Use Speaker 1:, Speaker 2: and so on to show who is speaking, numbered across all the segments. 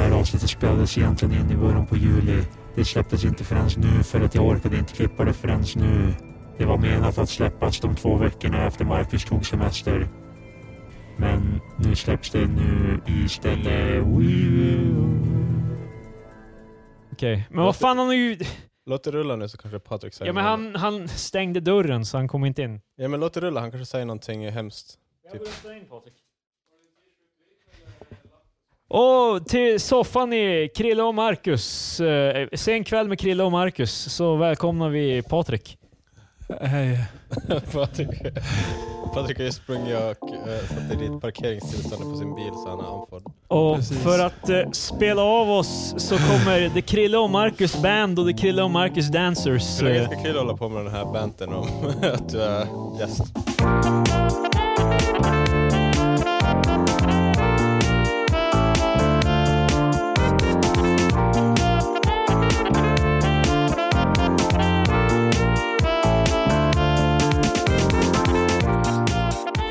Speaker 1: avsnittet spelades egentligen in i början på juli. Det släpptes inte förrän nu för att jag orkade inte klippa det förrän nu. Det var menat att släppas de två veckorna efter Marcus tog semester. Men nu släpps det nu istället.
Speaker 2: Okej, men vad fan han har ju...
Speaker 3: Låt det rulla nu så kanske Patrik säger
Speaker 2: Ja men
Speaker 3: någonting.
Speaker 2: han, han stängde dörren så han kom inte in.
Speaker 3: ja, men låt det rulla, han kanske säger någonting hemskt. Typ.
Speaker 2: Och till soffan i Krille och Marcus. Eh, Sen kväll med Krille och Marcus så välkomnar vi Patrik.
Speaker 4: Hej.
Speaker 3: Patrik, Patrik har ju sprungit och eh, satt i ditt parkeringstillstånd på sin bil så han är andfådd.
Speaker 2: Och
Speaker 4: Precis.
Speaker 2: för att eh, spela av oss så kommer The Krille och Marcus Band och The Krille och Marcus Dancers.
Speaker 3: Det är
Speaker 2: eh,
Speaker 3: ganska kul att hålla på med den här banten om att du är gäst.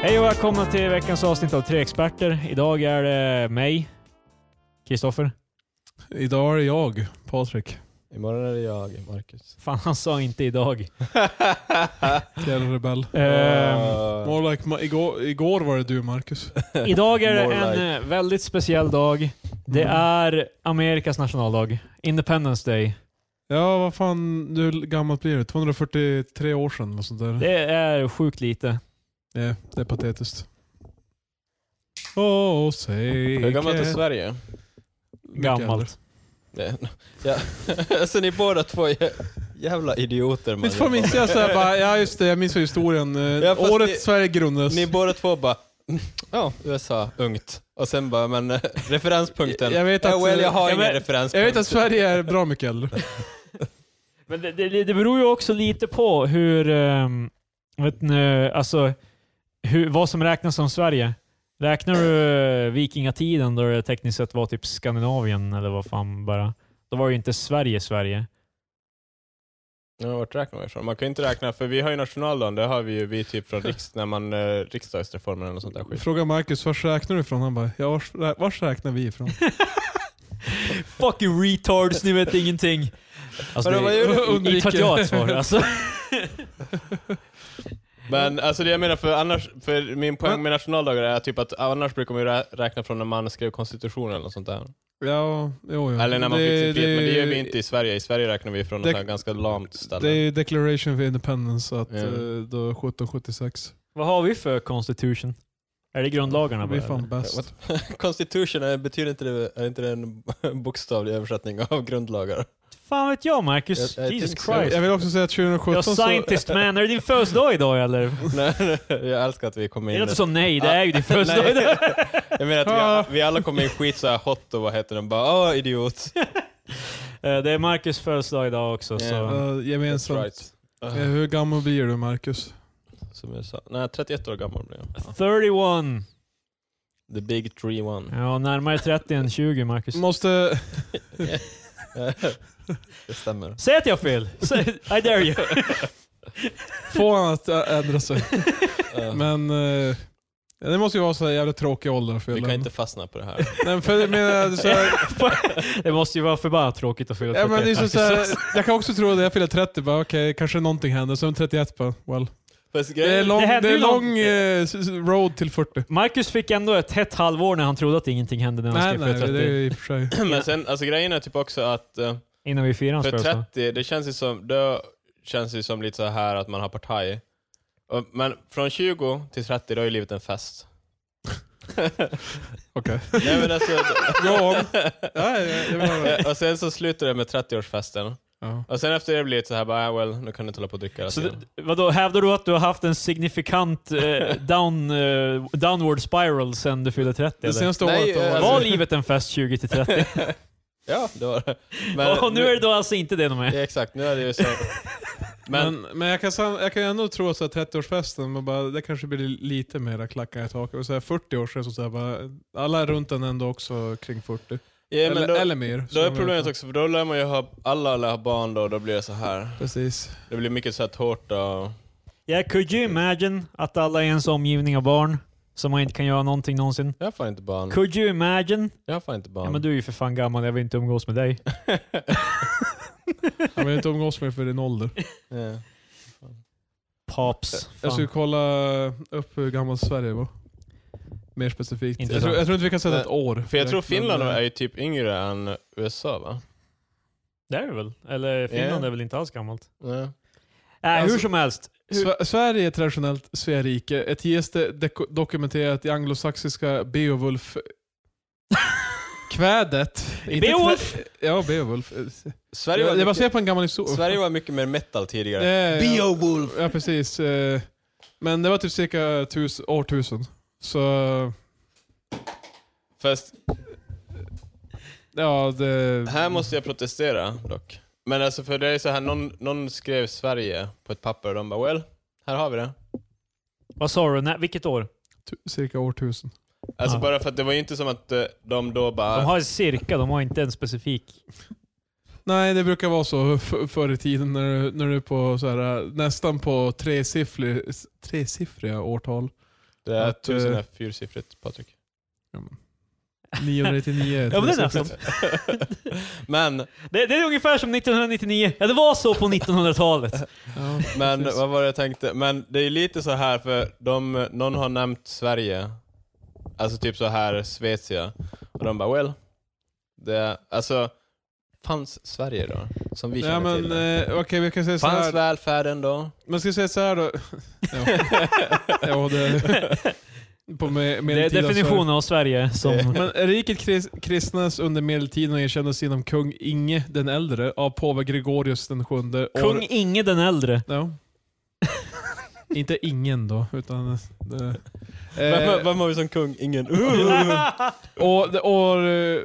Speaker 2: Hej och välkomna till veckans avsnitt av Tre Experter. Idag är det mig, Kristoffer.
Speaker 4: Idag är det jag, Patrik.
Speaker 3: Imorgon är det jag, Marcus.
Speaker 2: Fan, han sa inte idag.
Speaker 4: Fjällrebell.
Speaker 3: Eh.
Speaker 2: Ehm,
Speaker 4: More like ma- igår, igår var det du, Marcus.
Speaker 2: idag är det
Speaker 3: More
Speaker 2: en
Speaker 3: like.
Speaker 2: eh, väldigt speciell dag. Det
Speaker 4: Mm.
Speaker 2: är Amerikas nationaldag. Independence Day.
Speaker 4: Ja, vad fan, du, hur gammalt blir du? 243 år sedan? Och sånt där. Det...
Speaker 2: Det är sjukt lite.
Speaker 4: det är patetiskt. Oh, säg
Speaker 3: Hur gammalt är
Speaker 4: icke-
Speaker 3: Sverige?
Speaker 4: Mycket äldre.
Speaker 2: Gammalt.
Speaker 3: Det, ja. så ni båda två är jävla idioter. man.
Speaker 4: Visst fan minns jag såhär bara, ja just det, jag minns ju historien. Eh,
Speaker 3: Ja, fast
Speaker 4: Året
Speaker 3: ni-
Speaker 4: Sverige grundades.
Speaker 3: Ni båda två bara, "Mm, ja, USA, ungt. Och sen bara, men eh, referenspunkten.
Speaker 4: Jag vet att-
Speaker 3: ja, well, jag har
Speaker 4: jag
Speaker 3: ingen
Speaker 4: vet-
Speaker 3: referenspunkt.
Speaker 4: jag vet att Sverige är bra mycket äldre.
Speaker 2: Men det, det, det beror ju också lite på hur... ehm, vet ni, alltså, hur, vad som räknas som Sverige. Räknar du eh, vikingatiden då det tekniskt sett var typ Skandinavien eller vad fan bara. Då var det ju inte Sverige, Sverige.
Speaker 3: Ja, vart räknar man ifrån? Man kan ju inte räkna, för vi har ju nationaldagen, det har vi ju vi typ från riks, när man, eh, riksdagsreformen eller något sånt där skit.
Speaker 4: Fråga Marcus, vars räknar du ifrån? Han bara, ja vars, rä- vars räknar vi ifrån?
Speaker 2: Fucking retards, ni vet ingenting. Alltså,
Speaker 3: Men vad gör du?
Speaker 2: det, inte för att jag har ett svar alltså.
Speaker 3: Men alltså det jag menar, för annars, för min poäng med nationaldagar är typ att annars brukar man ju rä- räkna från när man skrev konstitutionen eller något sånt där.
Speaker 4: Ja, jo, jo.
Speaker 3: Eller när man
Speaker 4: Mm. Det-
Speaker 3: fick sin frihet, men det gör vi
Speaker 4: det-
Speaker 3: inte i Sverige. I Sverige räknar vi från
Speaker 4: Det-
Speaker 3: något här ganska lamt ställe.
Speaker 4: Det är ju Declaration of Independence, så att
Speaker 3: Ja.
Speaker 4: eh, då 1776.
Speaker 2: vad har vi för constitution? Är det grundlagarna?
Speaker 4: Vi är
Speaker 2: bara, eller?
Speaker 4: fan bäst.
Speaker 3: What? Constitution, är, betyder inte det, är inte det en bokstavlig översättning av grundlagar?
Speaker 2: Fan vet jag Marcus.
Speaker 3: Jag- jag
Speaker 2: Jesus
Speaker 3: tänkte-
Speaker 2: Christ.
Speaker 4: Jag vill också säga att
Speaker 2: Jag
Speaker 4: 2017
Speaker 2: är scientist man. Är det din födelsedag idag eller?
Speaker 3: nej, nej, jag älskar att vi kommer
Speaker 2: Det
Speaker 3: in...
Speaker 2: låter som nej, det är ju din födelsedag
Speaker 3: Nej.
Speaker 2: idag.
Speaker 3: Jag menar
Speaker 4: Ah.
Speaker 3: att vi, vi alla kommer in skit så här hot och vad heter den? Bara åh idiot.
Speaker 2: Eh, Det är Marcus födelsedag idag också.
Speaker 3: Ja.
Speaker 2: Så.
Speaker 4: så... Uh, gemensamt.
Speaker 3: That's right.
Speaker 4: Eh, Hur gammal blir du Marcus?
Speaker 3: Som jag sa. Nej, 31 år gammal blev jag.
Speaker 2: 31.
Speaker 3: The big 3-1.
Speaker 2: Ja, närmare 30 än 20 Marcus.
Speaker 4: Måste...
Speaker 3: det stämmer.
Speaker 2: Säg att jag har fel! Säg- I dare you!
Speaker 4: Få han att ä- ändra sig.
Speaker 3: Eh,
Speaker 4: Men eh, det måste ju vara så här jävla tråkig ålder för
Speaker 3: vi kan
Speaker 4: alla.
Speaker 3: inte fastna på det här.
Speaker 4: Nej, men för jag menar, så här,
Speaker 2: Det måste ju vara förbannat tråkigt att fylla
Speaker 4: ja, men det är
Speaker 2: 31,
Speaker 4: så, så här, Jag kan också tro att jag fyller 30, bara okej, kanske någonting händer. Sen 31 bara, well.
Speaker 3: Fast
Speaker 4: Det är
Speaker 3: grejen,
Speaker 4: lång,
Speaker 2: det
Speaker 4: det
Speaker 2: händer
Speaker 4: är
Speaker 2: ju lång-
Speaker 4: lång eh, s- s- road till 40.
Speaker 2: Marcus fick ändå ett hett halvår när han trodde att ingenting hände när han
Speaker 4: Nej,
Speaker 2: skrev
Speaker 4: nej,
Speaker 2: för 30.
Speaker 4: det är i och för sig.
Speaker 3: men sen, alltså, grejen är typ också att eh,
Speaker 2: Innan vi firade hans
Speaker 3: för
Speaker 2: födelsedag.
Speaker 3: 30, det känns ju som, då känns det ju som lite så här att man har partaj. Och- Men från 20 till 30, då är ju livet en fest.
Speaker 4: Okej.
Speaker 3: Nej men alltså,
Speaker 4: Go on. Ja, jag, jag vill höra.
Speaker 3: och sen så slutar det med 30-årsfesten.
Speaker 4: Ja.
Speaker 3: Och sen efter det blir det så här bara, ah, well, nu kan du inte hålla på och dricka hela
Speaker 2: Så
Speaker 3: tiden.
Speaker 2: det, vadå, hävdar du att du har haft en signifikant eh, down, eh, downward spiral sen du fyllde 30?
Speaker 4: Det
Speaker 2: Eller?
Speaker 4: senaste
Speaker 3: Nej,
Speaker 4: året då
Speaker 3: eh,
Speaker 2: Var
Speaker 3: alltså-
Speaker 2: livet en fest 20 till 30?
Speaker 3: Ja, det var det.
Speaker 2: och nu är det då alltså inte det de är.
Speaker 3: Ja, exakt, nu är det ju så. Men,
Speaker 4: Men, men jag, kan, sam- jag kan ändå tro att så här 30-årsfesten, man bara, det kanske blir lite mera klackar i taket. Och så här 40 år sedan, så så här bara, alla runt den ändå också kring 40.
Speaker 3: ja, men
Speaker 4: eller,
Speaker 3: då,
Speaker 4: eller mer.
Speaker 3: då är
Speaker 4: Så-
Speaker 3: problemet också, för då lär man ju ha, alla lär ha barn då, och då blir det så här.
Speaker 4: Precis.
Speaker 3: Det blir mycket så här tårta och...
Speaker 2: Yeah, could you imagine att alla i ens omgivning har barn? Så man inte kan göra någonting någonsin.
Speaker 3: Jag har fan inte barn.
Speaker 2: Could you imagine?
Speaker 3: Jag har fan inte barn.
Speaker 2: Ja, men du är ju för fan gammal, jag vill inte umgås med dig.
Speaker 4: Jag vill inte umgås med för din ålder.
Speaker 3: Ja.
Speaker 2: Pops.
Speaker 4: Jag
Speaker 2: Fan.
Speaker 4: skulle kolla upp hur gammal Sverige var. Mer specifikt. Jag
Speaker 2: Intressant.
Speaker 4: tror, jag tror inte vi kan sätta ett år.
Speaker 3: För jag tror
Speaker 4: direkt, men,
Speaker 3: Finland
Speaker 4: eh,
Speaker 3: är ju typ yngre än USA va?
Speaker 2: Det är det väl? Eller Finland
Speaker 3: Ja.
Speaker 2: är väl inte alls gammalt?
Speaker 3: Ja.
Speaker 2: Nej,
Speaker 4: Alltså-
Speaker 2: hur som helst. Hur-
Speaker 4: Sve- Sverige är traditionellt Sverige. Ett gäste deko- dokumenterat i anglosaxiska Beowulf. Kvädet. Inte
Speaker 2: Beowulf?
Speaker 4: knä- Ja, Beowulf.
Speaker 3: Sverige, var
Speaker 4: Det är
Speaker 3: mycket,
Speaker 4: baserat på en gammal historia.
Speaker 3: Sverige var mycket mer metal tidigare.
Speaker 4: Det-
Speaker 3: Beowulf!
Speaker 4: Ja, precis. eh, Men det var typ cirka tus, år 1000. Så
Speaker 3: Fast
Speaker 4: ja, det...
Speaker 3: här måste jag protestera dock. Men alltså för det är så här, någon, någon skrev Sverige på ett papper och de bara well, här har vi det.
Speaker 2: Vad sa du? Nej, vilket år?
Speaker 4: tu- cirka år 1000.
Speaker 3: Alltså
Speaker 2: Ja.
Speaker 3: bara för att det var ju inte som att eh, de då bara...
Speaker 2: De har cirka, de har inte en specifik.
Speaker 4: Nej, det brukar vara så f- förr i tiden när du, när du är på så här, nästan på tresiffrig, tresiffriga årtal.
Speaker 3: Det är
Speaker 4: Att, eh,
Speaker 3: tusen är fyrsiffrigt Patrik.
Speaker 4: 999 är
Speaker 2: Ja, men det är
Speaker 4: tresiffrigt.
Speaker 2: nästan.
Speaker 3: Men,
Speaker 2: Det, det är ungefär som 1999. Ja, det var så på 1900-talet.
Speaker 4: Ja,
Speaker 3: men
Speaker 4: precis.
Speaker 3: vad var det jag tänkte? Men det är ju lite så här för de, någon har nämnt Sverige. Alltså typ så här Svezia. Och de bara well. Det, alltså, fanns Sverige då? Som vi känner
Speaker 4: Ja, men
Speaker 3: till.
Speaker 4: eh, okej, vi kan säga så
Speaker 3: Fanns
Speaker 4: här.
Speaker 3: välfärden då?
Speaker 4: Man ska säga så här då. ja. ja, det... På med,
Speaker 2: Det är
Speaker 4: medeltida
Speaker 2: definitionen av Sverige som...
Speaker 4: Sverige. Men riket kris, kristnas under medeltiden och erkändes genom kung Inge den äldre av påve Gregorius den sjunde. år-
Speaker 2: Kung Inge den äldre.
Speaker 4: Ja. Inte ingen då, utan... Det,
Speaker 3: Vem,
Speaker 4: eh,
Speaker 3: vem har vi som kung? Ingen.
Speaker 4: och, det, år eh,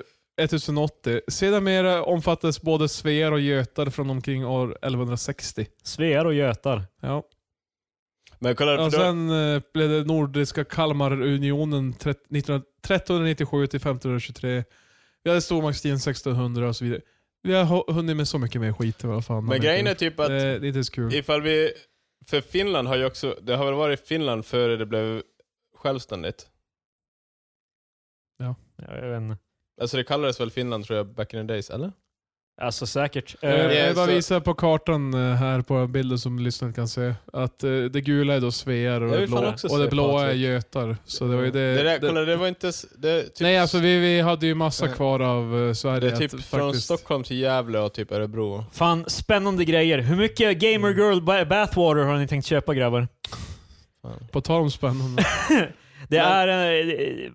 Speaker 4: 1080. Sedermera omfattades både svear och götar från omkring år 1160.
Speaker 2: Svear och götar.
Speaker 4: Ja.
Speaker 3: Men kolla,
Speaker 4: Ja,
Speaker 3: för då-
Speaker 4: sen eh, blev det Nordiska Kalmarunionen 1397 till 1523. Vi hade stormaktstiden 1600 och så vidare. Vi har hu- hunnit med så mycket mer skit. Vad fan,
Speaker 3: men grejen är typ att
Speaker 4: det, det är inte så kul.
Speaker 3: Ifall vi... För Finland har ju också... Det har väl varit Finland före det blev självständigt?
Speaker 2: Ja, Jag vet inte.
Speaker 3: Alltså det kallades väl Finland tror jag back in the days, eller?
Speaker 2: Alltså säkert. Eh,
Speaker 4: Eh,
Speaker 3: ja,
Speaker 4: jag bara
Speaker 3: så-
Speaker 4: visar på kartan eh, här på bilden som lyssnaren kan se. Att eh, det gula är då svear och,
Speaker 3: Jag
Speaker 4: det
Speaker 3: vill fan
Speaker 4: blå,
Speaker 3: också
Speaker 4: och det
Speaker 3: se
Speaker 4: blåa är
Speaker 3: Patrik.
Speaker 4: götar. Så det var ju det,
Speaker 3: Mm. det där,
Speaker 4: det-
Speaker 3: kolla, det var inte... s- Det, typ,
Speaker 4: nej, alltså vi, vi hade ju massa
Speaker 3: Eh,
Speaker 4: kvar av eh,
Speaker 3: det
Speaker 4: Sverige.
Speaker 3: är typ
Speaker 4: att
Speaker 3: från Stockholm till Gävle och typ Örebro.
Speaker 2: Fan, spännande grejer. Hur mycket Gamer Girl ba- Bathwater har ni tänkt köpa grabbar?
Speaker 4: På tal om spännande.
Speaker 2: Det är...
Speaker 3: Men-
Speaker 2: eh, eh, eh,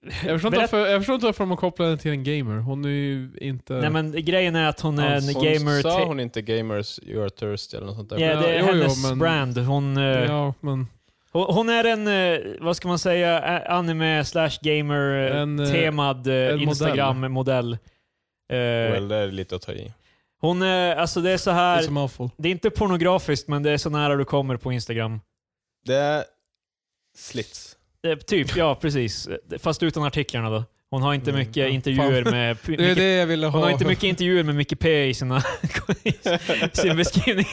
Speaker 4: Jag förstår, inte
Speaker 2: Berätt-
Speaker 4: varför, jag förstår inte varför de kopplar henne till en gamer. Hon är ju inte...
Speaker 2: Nej men grejen är att hon är en
Speaker 3: Hon-
Speaker 2: gamer...
Speaker 3: Sa
Speaker 2: te-
Speaker 3: hon inte gamers you're thirsty eller något sånt där?
Speaker 2: Ja, det är
Speaker 4: Ja, jo, jo,
Speaker 2: hennes
Speaker 4: men-
Speaker 2: brand. Hon, eh,
Speaker 4: ja, men
Speaker 2: hon, hon är en, eh, vad ska man säga, eh, anime slash gamer eh,
Speaker 4: En, eh,
Speaker 2: temad eh,
Speaker 4: en
Speaker 2: Instagram-modell. Eh,
Speaker 3: Well, det är lite att ta i.
Speaker 2: Hon är, alltså det är så
Speaker 4: det är
Speaker 2: här
Speaker 4: som awful.
Speaker 2: Det är inte pornografiskt, men det är så nära du kommer på Instagram.
Speaker 3: Det är slits.
Speaker 2: Eh, typ, ja precis. Eh, Fast utan artiklarna då. Hon har inte
Speaker 3: Mm,
Speaker 2: mycket
Speaker 3: ja.
Speaker 2: intervjuer
Speaker 4: Fan.
Speaker 2: med... p-
Speaker 4: Det är
Speaker 2: mycket,
Speaker 4: det jag ville ha.
Speaker 2: hon har inte mycket intervjuer med Micke P i sina, i sin beskrivning.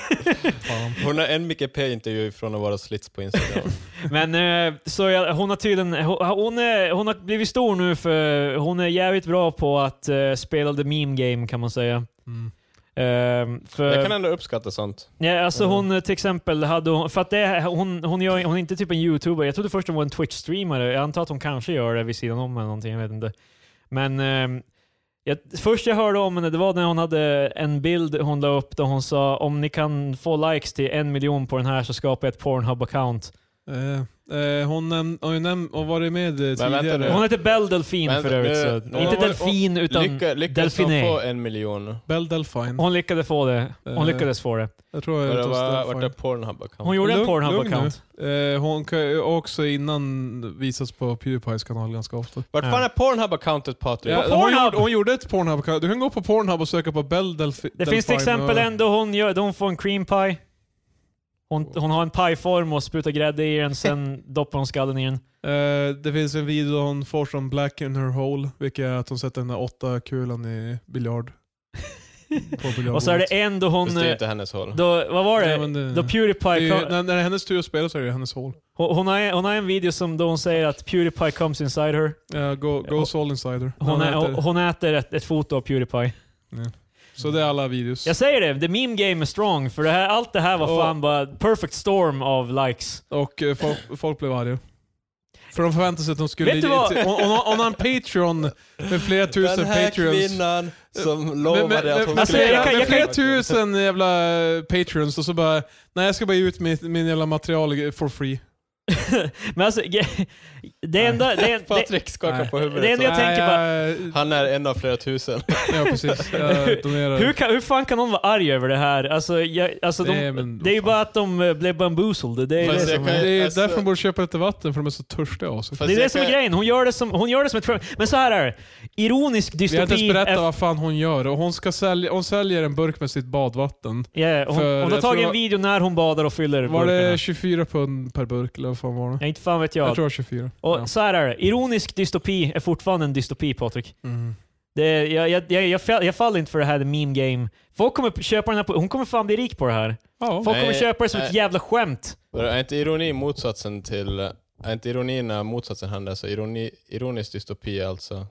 Speaker 4: Fan.
Speaker 3: Hon har en Micke P-intervju från att vara slits på Instagram.
Speaker 2: Men eh, så jag, hon har tydligen... Hon, hon, är, hon har blivit stor nu för hon är jävligt bra på att eh, spela the meme game kan man säga.
Speaker 4: Mm.
Speaker 2: Eh, för,
Speaker 3: jag kan ändå uppskatta sånt.
Speaker 2: ja, alltså
Speaker 3: Mm.
Speaker 2: hon eh, till exempel hade hon, för att det, hon, hon, gör, hon är inte typ en youtuber. Jag trodde först hon var en twitch-streamare. Jag antar att hon kanske gör det vid sidan om eller någonting, jag vet inte. Men eh, jag, först jag hörde om henne, det var när hon hade en bild hon la upp där hon sa om ni kan få likes till en miljon på den här så skapar jag ett Pornhub-account.
Speaker 4: Eh, eh, hon näm- har ju näm- och varit med eh,
Speaker 3: vänta nu.
Speaker 2: Hon
Speaker 4: tidigare.
Speaker 2: heter Bell Delfin
Speaker 3: Vänta,
Speaker 2: för övrigt.
Speaker 3: nu-
Speaker 2: Så.
Speaker 3: nu-
Speaker 2: inte
Speaker 4: hon var-
Speaker 2: delfin, utan
Speaker 3: Lycka, lyckas de
Speaker 2: delfiné.
Speaker 3: få en miljon?
Speaker 4: Bell Delphine.
Speaker 2: hon lyckades få det. Hon
Speaker 4: Eh,
Speaker 2: lyckades få det.
Speaker 4: Jag tror jag
Speaker 3: Var det,
Speaker 4: uttalas
Speaker 3: var,
Speaker 4: Delphine.
Speaker 3: var det Pornhub-account?
Speaker 2: Hon gjorde en
Speaker 4: lugn- lugn
Speaker 2: Pornhub-account.
Speaker 4: Eh, hon kan ju också innan visas på Pewdiepies kanal ganska ofta.
Speaker 3: Vart fan
Speaker 2: Ja.
Speaker 3: är Pornhub-accountet Patrik?
Speaker 4: Ja, hon,
Speaker 2: Pornhub!
Speaker 4: gjorde, hon gjorde ett Pornhub. Du kan gå på Pornhub och söka på Bell Delphi-
Speaker 2: Det finns till
Speaker 4: Delphine
Speaker 2: exempel
Speaker 4: och-
Speaker 2: en då hon, gör, då hon får en cream pie. Hon, hon har en pajform och sprutar grädde i den, sen doppar hon skallen i den.
Speaker 4: Eh, det finns en video hon får som Black in her hole, vilket är att hon sätter den där åtta kulan i biljard. På biljardbordet.
Speaker 2: Och så är det en då hon... eh,
Speaker 3: Fast det är inte hennes hål.
Speaker 2: Då, vad var
Speaker 4: Nej,
Speaker 2: det?
Speaker 4: men det-
Speaker 2: Då
Speaker 4: det är
Speaker 2: Pewdiepie...
Speaker 4: ju,
Speaker 2: kom-
Speaker 4: när, när det är hennes tur att spela så är det hennes hål.
Speaker 2: Hon, hon, har, hon har en video som då hon säger att Pewdiepie comes inside her.
Speaker 4: Ja, go,
Speaker 2: Ja.
Speaker 4: go Soul Insider.
Speaker 2: Hon,
Speaker 4: Den
Speaker 2: är,
Speaker 4: heter-
Speaker 2: hon äter ett, ett foto av Pewdiepie.
Speaker 4: Så det är alla videos.
Speaker 2: Jag säger det, the meme game är strong. För det här, allt det här var
Speaker 4: Och-
Speaker 2: fan bara perfect storm av likes.
Speaker 4: Och eh, folk, folk blev arga. För de förväntade sig att de skulle...
Speaker 2: Vet du vad?
Speaker 4: Hon, hon, har- hon har en Patreon med flera tusen
Speaker 3: Den här
Speaker 4: Patreons.
Speaker 2: Eh,
Speaker 3: kvinnan som
Speaker 4: Men-
Speaker 3: lovade
Speaker 4: men-
Speaker 3: att hon
Speaker 4: men-
Speaker 2: Alltså,
Speaker 4: flera-
Speaker 2: jag kan-
Speaker 4: men
Speaker 2: jag kan-
Speaker 4: flera tusen jävla eh, Patreons och så bara... Nej, jag ska bara ge ut mitt, min jävla material for free.
Speaker 2: Men alltså, ge- det enda, det, det,
Speaker 3: Patrik skakar
Speaker 4: Nej.
Speaker 3: på
Speaker 2: Det
Speaker 3: huvudet.
Speaker 2: enda jag
Speaker 3: så-
Speaker 2: tänker
Speaker 4: bara...
Speaker 3: Han är en av flera tusen.
Speaker 4: Ja, precis. Jag donerar.
Speaker 2: hur, kan, hur fan kan någon vara arg över det här? Alltså, jag, alltså
Speaker 4: Nej,
Speaker 2: de,
Speaker 4: men
Speaker 2: det är ju
Speaker 4: vad fan.
Speaker 2: bara att de eh, blev bamboozled. Det är,
Speaker 3: Fast
Speaker 2: det,
Speaker 4: Det
Speaker 3: jag
Speaker 2: som,
Speaker 4: är,
Speaker 3: kan-
Speaker 4: det är
Speaker 3: alltså-
Speaker 4: därför de borde köpa lite vatten, för de är så törstiga av sig.
Speaker 3: Fast
Speaker 2: det, är det
Speaker 3: jag
Speaker 2: som är
Speaker 3: kan-
Speaker 2: grejen. Hon gör det som, hon gör det som ett skämt. Men så här är det. Ironisk
Speaker 4: Vi har inte
Speaker 2: dystopi...
Speaker 4: ens berättat
Speaker 2: är-
Speaker 4: vad fan hon gör. Och hon, ska sälja, hon säljer en burk med sitt badvatten.
Speaker 2: Ja, hon,
Speaker 4: för-
Speaker 2: hon har
Speaker 4: jag tror
Speaker 2: tagit en
Speaker 4: jag-
Speaker 2: video när hon badar och fyller
Speaker 4: Var
Speaker 2: burkarna.
Speaker 4: det 24 pund per burk eller vad fan var det?
Speaker 2: Ja, inte fan vet
Speaker 4: Jag
Speaker 2: jag.
Speaker 4: tror det var 24.
Speaker 2: Och
Speaker 4: ja.
Speaker 2: så här är det. Ironisk dystopi är fortfarande en dystopi, Patrik.
Speaker 4: mm.
Speaker 2: Det är, jag, jag, jag, jag, fall- jag faller inte för det här the meme game. Folk kommer köpa den här... på- Hon kommer fan bli rik på det här.
Speaker 4: ja.
Speaker 2: Folk
Speaker 3: Nej,
Speaker 2: kommer köpa det som ett
Speaker 3: nej.
Speaker 2: jävla skämt.
Speaker 3: Är inte ironi motsatsen till... Är inte ironi när motsatsen händer? Så ironi, ironisk dystopi är alltså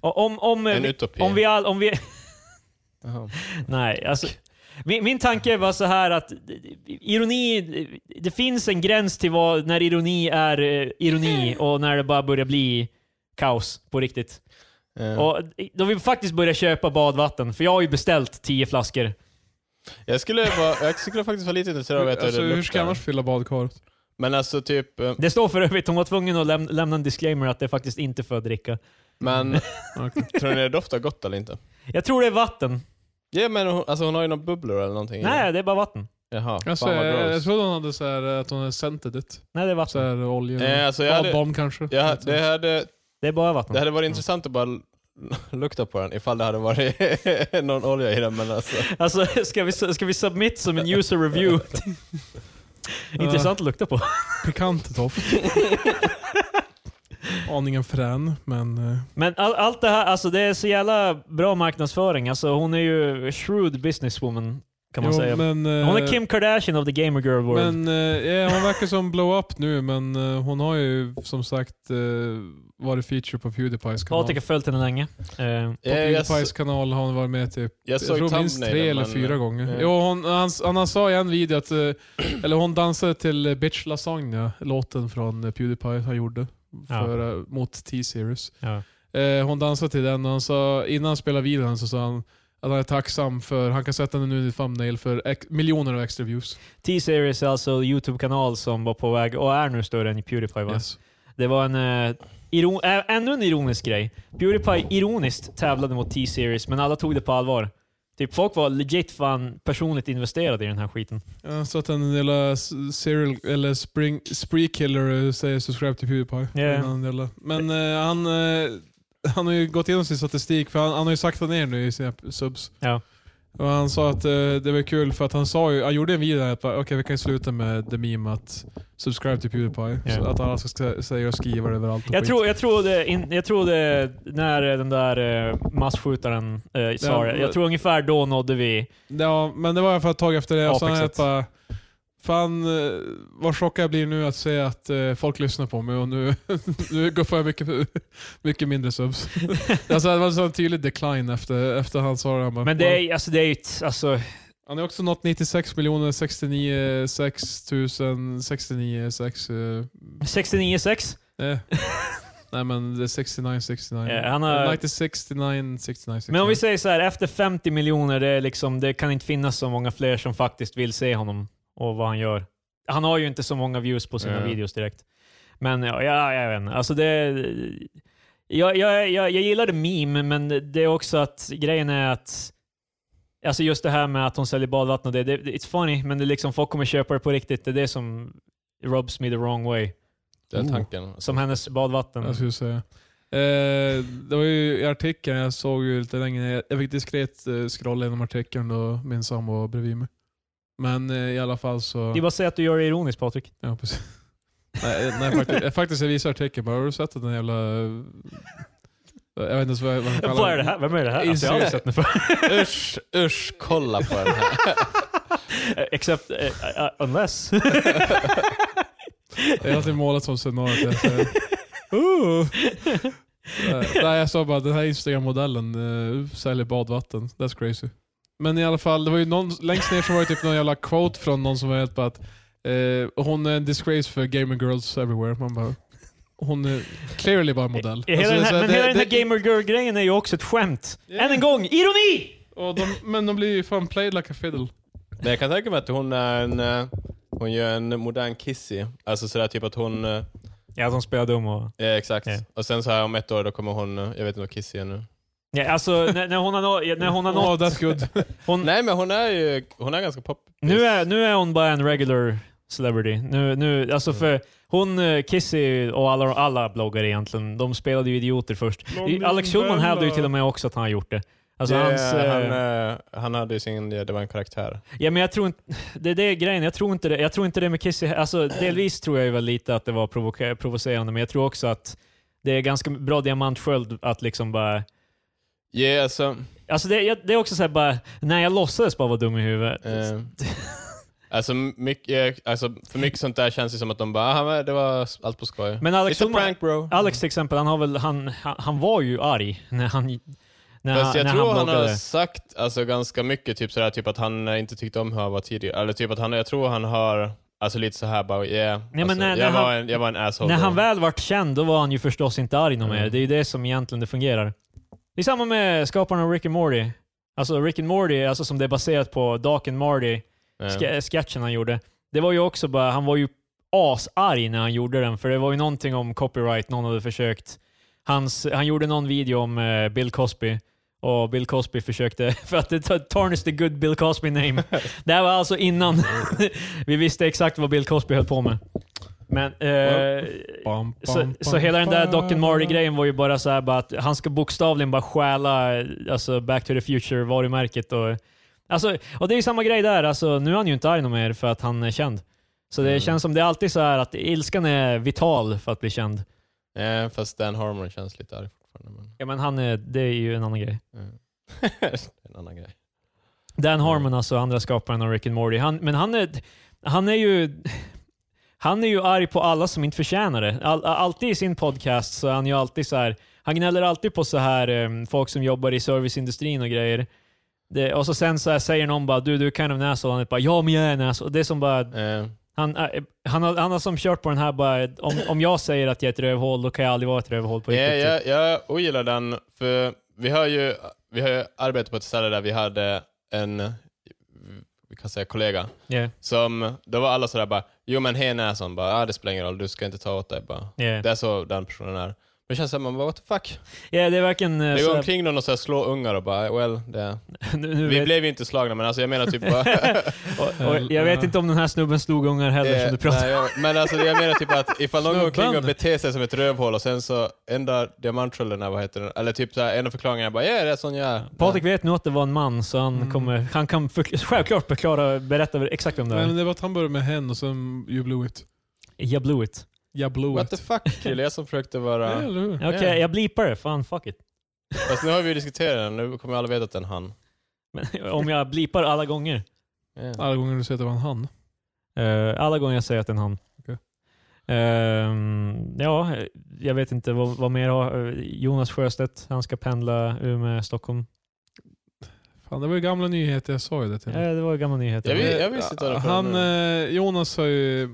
Speaker 2: Och Om, om, eh,
Speaker 3: en
Speaker 2: vi-
Speaker 3: utopi.
Speaker 2: om vi... All, om vi
Speaker 3: Jaha.
Speaker 2: Nej, alltså... Min, min tanke var så här att ironi, det finns en gräns till vad, när ironi är eh, ironi och när det bara börjar bli kaos på riktigt.
Speaker 3: Eh,
Speaker 2: Och då vill vi faktiskt börja köpa badvatten, för jag har ju beställt tio flaskor.
Speaker 3: Jag, skulle vara, jag skulle faktiskt vara lite intresserad av att veta
Speaker 4: alltså,
Speaker 3: hur det
Speaker 4: hur ska jag annars
Speaker 3: luktar.
Speaker 4: fylla badkaret?
Speaker 3: Men alltså typ... eh,
Speaker 2: Det står för övrigt, hon var tvungen att läm lämna en disclaimer att det är faktiskt inte för att dricka.
Speaker 3: Men
Speaker 4: Okej.
Speaker 3: tror ni det doftar gott eller inte?
Speaker 2: Jag tror det är vatten.
Speaker 3: Ja men hon, alltså hon har ju några bubblor eller någonting. i den.
Speaker 2: Nej, det är bara vatten.
Speaker 3: Jaha,
Speaker 4: Alltså,
Speaker 3: fan vad
Speaker 4: jag, jag
Speaker 3: gross.
Speaker 4: trodde hon hade så här, eh, att hon hade scented it.
Speaker 2: Nej, det är
Speaker 4: Så
Speaker 2: vatten.
Speaker 4: här, olja.
Speaker 3: Eh, alltså, jag hade,
Speaker 4: Badbomb kanske.
Speaker 3: jag, det, hade,
Speaker 2: Det är bara
Speaker 3: det
Speaker 2: vatten.
Speaker 3: hade varit intressant att bara l- lukta på den ifall det hade varit någon olja i den men alltså.
Speaker 2: Alltså, ska vi, ska vi submit som en user review? Intressant att lukta på.
Speaker 4: Pikant doft. Aningen frän, men... eh,
Speaker 2: Men all, allt det här, alltså det är så jävla bra marknadsföring. Alltså hon är ju shrewd businesswoman, kan man
Speaker 4: jo,
Speaker 2: säga.
Speaker 4: Men, eh,
Speaker 2: Hon är Kim Kardashian of the gamer girl world.
Speaker 4: Men eh, ja, hon verkar som blow-up nu, men eh, hon har ju som sagt eh, varit feature på Pewdiepies kanal.
Speaker 2: Patrik har
Speaker 4: På
Speaker 2: följt henne länge. Eh,
Speaker 3: Eh, jag,
Speaker 4: Pewdiepies kanal har hon varit med typ
Speaker 3: jag
Speaker 4: jag
Speaker 3: såg
Speaker 4: tror minst
Speaker 3: thumbnailen,
Speaker 4: tre eller
Speaker 3: men- eh.
Speaker 4: fyra gånger.
Speaker 3: ja.
Speaker 4: Jo, hon, han, han, han sa i en video att, eh, eller hon dansade till eh, Bitch Lasagna, låten från eh, Pewdiepie han gjorde för, eh, mot T-Series.
Speaker 2: ja.
Speaker 4: Eh, hon dansade till den och han sa, innan han spelade videon så sa han att han är tacksam för, han kan sätta den nu i thumbnail för ex, miljoner av extra views.
Speaker 2: T-series är alltså Youtube-kanal som var på väg, och är nu större än Pewdiepie va?
Speaker 4: Yes.
Speaker 2: Det var en... Eh, iron, äh, ännu en ironisk grej. Pewdiepie ironiskt tävlade mot T-series, men alla tog det på allvar. Typ folk var legit fan personligt investerade i den här skiten.
Speaker 4: Ja, så att en jävla s- serial, eller spring, spree killer eh, säger subscribe till Pewdiepie.
Speaker 2: Ja.
Speaker 4: Innan jävla- Men eh, han, eh, han har ju gått igenom sin statistik, för han, han har ju saktat ner nu i sina subs.
Speaker 2: Ja.
Speaker 4: Och han sa att eh, det var kul för att han sa ju, han gjorde en video där att bara, okej vi kan ju sluta med the meme att subscribe till Pewdiepie.
Speaker 2: Ja.
Speaker 4: Så att alla ska sk- säga och skriva det överallt. och
Speaker 2: Jag
Speaker 4: skit.
Speaker 2: tror, jag, tror det, in, jag tror det när den där eh, masskjutaren eh, sa
Speaker 4: Ja,
Speaker 2: det. Jag tror ungefär då nådde vi...
Speaker 4: Ja, men det var i alla fall ett tag efter det. Och sen är jag
Speaker 2: Apexet.
Speaker 4: bara, fan eh, vad chockad jag blir nu att se att eh, folk lyssnar på mig och nu, nu går får jag mycket, mycket mindre subs. alltså, det var en sån tydlig decline efter, efter han sa det. Han, bara,
Speaker 2: Men det är, alltså, det är ju ett, alltså,
Speaker 4: han har också nått 96 miljoner 69 6 000 69 6 eh,
Speaker 2: 69,6.
Speaker 4: eh. Nej men det är 69 69.
Speaker 2: Ja, han har-
Speaker 4: 90 69 69
Speaker 2: Men om vi säger så här, efter 50 miljoner, det, är liksom, det kan inte finnas så många fler som faktiskt vill se honom och vad han gör. Han har ju inte så många views på sina
Speaker 3: Nej.
Speaker 2: videos direkt. Men ja, ja, jag vet inte. Alltså det, jag, jag, jag, jag gillade meme, men det är också att grejen är att Alltså just det här med att hon säljer badvatten och det, det it's funny, men det är liksom, folk kommer köpa det på riktigt. Det är det som rubs me the wrong way.
Speaker 3: Det är
Speaker 4: Oh.
Speaker 3: tanken.
Speaker 2: Som hennes badvatten.
Speaker 4: Jag skulle säga. Eh, det var ju i artikeln, jag såg ju lite längre Jag fick diskret eh, scrolla genom artikeln och min sambo var bredvid mig. Men eh, i alla fall så...
Speaker 2: Det är bara att säga att du gör det ironiskt Patrik.
Speaker 4: Ja, precis. nej, eh, nej, faktiskt, eh, faktiskt jag visade artikeln bara, har du sett att den jävla... eh, Jag vet inte ens vad jag vad jag kallar
Speaker 2: Vad är det här? Vem är det här? Alltså, jag har aldrig sett mig för.
Speaker 3: Usch, usch, kolla på den här.
Speaker 2: uh, Eh, Except, eh, eh, unless.
Speaker 4: Det är alltid målat som scenariot. Jag säger, "Ooh." Eh,
Speaker 2: Eh,
Speaker 4: Nej, jag sa bara den här Instagram-modellen eh, säljer badvatten. That's crazy. Men i alla fall, det var ju någon, längst ner så var det typ någon jävla quote från någon som var helt bara att eh, hon är en disgrace för gamer girls everywhere. Man bara, hon är clearly bara en modell.
Speaker 2: Hela
Speaker 4: Alltså,
Speaker 2: den
Speaker 4: så
Speaker 2: här,
Speaker 4: det-
Speaker 2: men hela
Speaker 4: det-
Speaker 2: den här Gamer Girl-grejen är ju också ett skämt.
Speaker 4: Ja.
Speaker 2: Än en gång, ironi!
Speaker 4: och de, men de blir ju fan played like a fiddle.
Speaker 3: Men jag kan tänka mig att hon är en... eh, Hon gör en modern Kissy. Alltså sådär typ att hon... eh,
Speaker 2: Ja, de spelar dum och...
Speaker 3: Ja, exakt.
Speaker 2: Ja.
Speaker 3: Och sen så här om ett år då kommer hon... eh, Jag vet inte vad Kissy är nu.
Speaker 2: Ja, alltså, när, när hon har, nå- när hon har
Speaker 4: Oh,
Speaker 2: nått...
Speaker 4: that's good.
Speaker 2: Hon,
Speaker 3: Nej men hon är ju... Hon är ganska pop.
Speaker 2: nu, är, nu är hon bara en regular celebrity. Nu, nu, alltså för hon, eh, Kissy och alla, alla bloggare egentligen, de spelade ju idioter först.
Speaker 4: Någon
Speaker 2: Alex Schulman
Speaker 4: novella.
Speaker 2: hävdade ju till och med också att han har gjort det. Alltså
Speaker 3: Det-
Speaker 2: hans, eh,
Speaker 3: han, eh, han hade ju sin... Det var en karaktär.
Speaker 2: Ja, men jag tror inte... Det, det är grejen. Jag tror inte det, jag tror inte det med Kissy. Alltså, delvis tror jag ju väl lite att det var provoka- provocerande, men jag tror också att det är ganska bra diamantsköld att liksom bara...
Speaker 3: Ja, alltså...
Speaker 2: Alltså det, jag, det är också såhär bara, nej jag låtsades bara vara dum i huvudet.
Speaker 3: Eh, alltså, mycket, eh, alltså, för mycket sånt där känns det som att de bara, "Ah, men det var allt på skoj.
Speaker 2: Men Alex
Speaker 3: It's a
Speaker 2: Schulman,
Speaker 3: prank bro.
Speaker 2: Alex till exempel, han, har väl, han, han, han var ju arg när han... När
Speaker 3: Fast jag
Speaker 2: när
Speaker 3: tror han har
Speaker 2: bloggade.
Speaker 3: sagt alltså, ganska mycket, typ sådär, typ att han eh, inte tyckte om hur han var tidigare. Eller typ att han, jag tror han har, alltså lite så här bara, yeah.
Speaker 2: men
Speaker 3: alltså,
Speaker 2: när-
Speaker 3: jag,
Speaker 2: när
Speaker 3: var en, jag var en asshole.
Speaker 2: När
Speaker 3: bro."
Speaker 2: han väl vart känd, då var han ju förstås inte arg någon
Speaker 3: Mm.
Speaker 2: mer. Det är ju det som egentligen det fungerar. Det är samma med skaparen av Rick and Morty. Alltså Rick and Morty, alltså som det är baserat på Doc and Marty,
Speaker 3: Ja.
Speaker 2: ske- sketchen han gjorde. Det var ju också bara, han var ju asarg när han gjorde den, för det var ju någonting om copyright någon hade försökt. Hans, han gjorde någon video om eh, Bill Cosby, och Bill Cosby försökte, för att det tarnish the good Bill Cosby name. det här var alltså innan vi visste exakt vad Bill Cosby höll på med. Men, eh,
Speaker 4: Bam,
Speaker 2: så,
Speaker 4: bam,
Speaker 2: så
Speaker 4: bam,
Speaker 2: hela den där
Speaker 4: bam.
Speaker 2: Doc and Marty-grejen var ju bara så här, bara att han ska bokstavligen bara stjäla alltså, Back to the Future-varumärket. Och, alltså, och det är ju samma grej där. Alltså, nu är han ju inte arg någon mer för att han är känd. Så det
Speaker 3: Mm.
Speaker 2: känns som det är alltid så här att ilskan är vital för att bli känd.
Speaker 3: Ja, fast Dan Harmon känns lite arg fortfarande. Men,
Speaker 2: Ja, men han är, det är ju en annan grej.
Speaker 3: ja. en annan grej.
Speaker 2: Dan Harmon, alltså andra skaparen av Rick and Morty. Han, men han är, han är ju... Han är ju arg på alla som inte förtjänar det. All, alltid i sin podcast så är han ju alltid så här. Han gnäller alltid på så här em, folk som jobbar i serviceindustrin och grejer. Det, och så sen så här säger någon bara du, du är kind of an asshole. Han är bara ja, men jag är en asshole. Det är som bara,
Speaker 3: Eh,
Speaker 2: han, eh, han, har, han har som kört på den här bara om, om jag säger att jag är ett rövhål, då kan jag aldrig vara ett rövhål på
Speaker 3: Ja,
Speaker 2: riktigt. Typ.
Speaker 3: jag, jag ogillar den, för vi har ju, vi har ju arbetat på ett ställe där vi hade en, vi kan säga kollega,
Speaker 2: Yeah,
Speaker 3: som, då var alla sådär bara, jo men hen är sån, bara, ah, det spelar ingen roll, du ska inte ta åt dig bara.
Speaker 2: yeah.
Speaker 3: Det är så den personen är. Men det känns som man bara, what the fuck?
Speaker 2: Yeah, det är verkligen... eh,
Speaker 3: Det
Speaker 2: så
Speaker 3: går
Speaker 2: här-
Speaker 3: omkring någon och så här slår ungar och bara, well, det.
Speaker 2: nu, nu
Speaker 3: Vi
Speaker 2: vet-
Speaker 3: blev ju inte slagna, men alltså jag menar typ bara...
Speaker 2: Och, och jag vet inte om den här snubben slog ungar heller
Speaker 3: Eh,
Speaker 2: som du pratar
Speaker 3: nej, jag- men alltså jag menar typ att ifall någon går omkring och
Speaker 4: Snubben.
Speaker 3: beter sig som ett rövhål och sen så enda diamantskölden är, vad heter den, eller typ så här, en av förklaringarna bara, ja det är sån jag är.
Speaker 2: Patrik vet nu att det var en man, så han,
Speaker 4: Mm.
Speaker 2: kommer, han kan förkl- självklart förklara, berätta exakt vem det
Speaker 4: Men
Speaker 2: är.
Speaker 4: det var att han började med hen och sen you blew it.
Speaker 2: Jag blew it.
Speaker 4: Jag blew
Speaker 3: What
Speaker 4: it.
Speaker 3: the fuck kille, jag som försökte
Speaker 4: Ja,
Speaker 3: vara...
Speaker 4: eller hur?
Speaker 2: Okej,
Speaker 3: Yeah.
Speaker 2: jag blipar det. Fan, fuck it.
Speaker 3: Fast nu har vi ju diskuterat den, nu kommer alla veta att det är en han.
Speaker 2: Men, om jag blipar alla gånger.
Speaker 3: Ja.
Speaker 4: Alla gånger du säger att det var en han.
Speaker 2: Eh, alla gånger jag säger att det är en han.
Speaker 4: Okej.
Speaker 2: Ehm, ja, jag vet inte vad, vad mer har... eh, Jonas Sjöstedt, han ska pendla Umeå, Stockholm.
Speaker 4: Fan, det var ju gamla nyheter, jag sa ju det till
Speaker 2: Eh, det var gamla nyheter.
Speaker 3: Jag vet- jag visste inte vad det var för
Speaker 4: Han,
Speaker 3: nu.
Speaker 4: eh, Jonas har ju eh,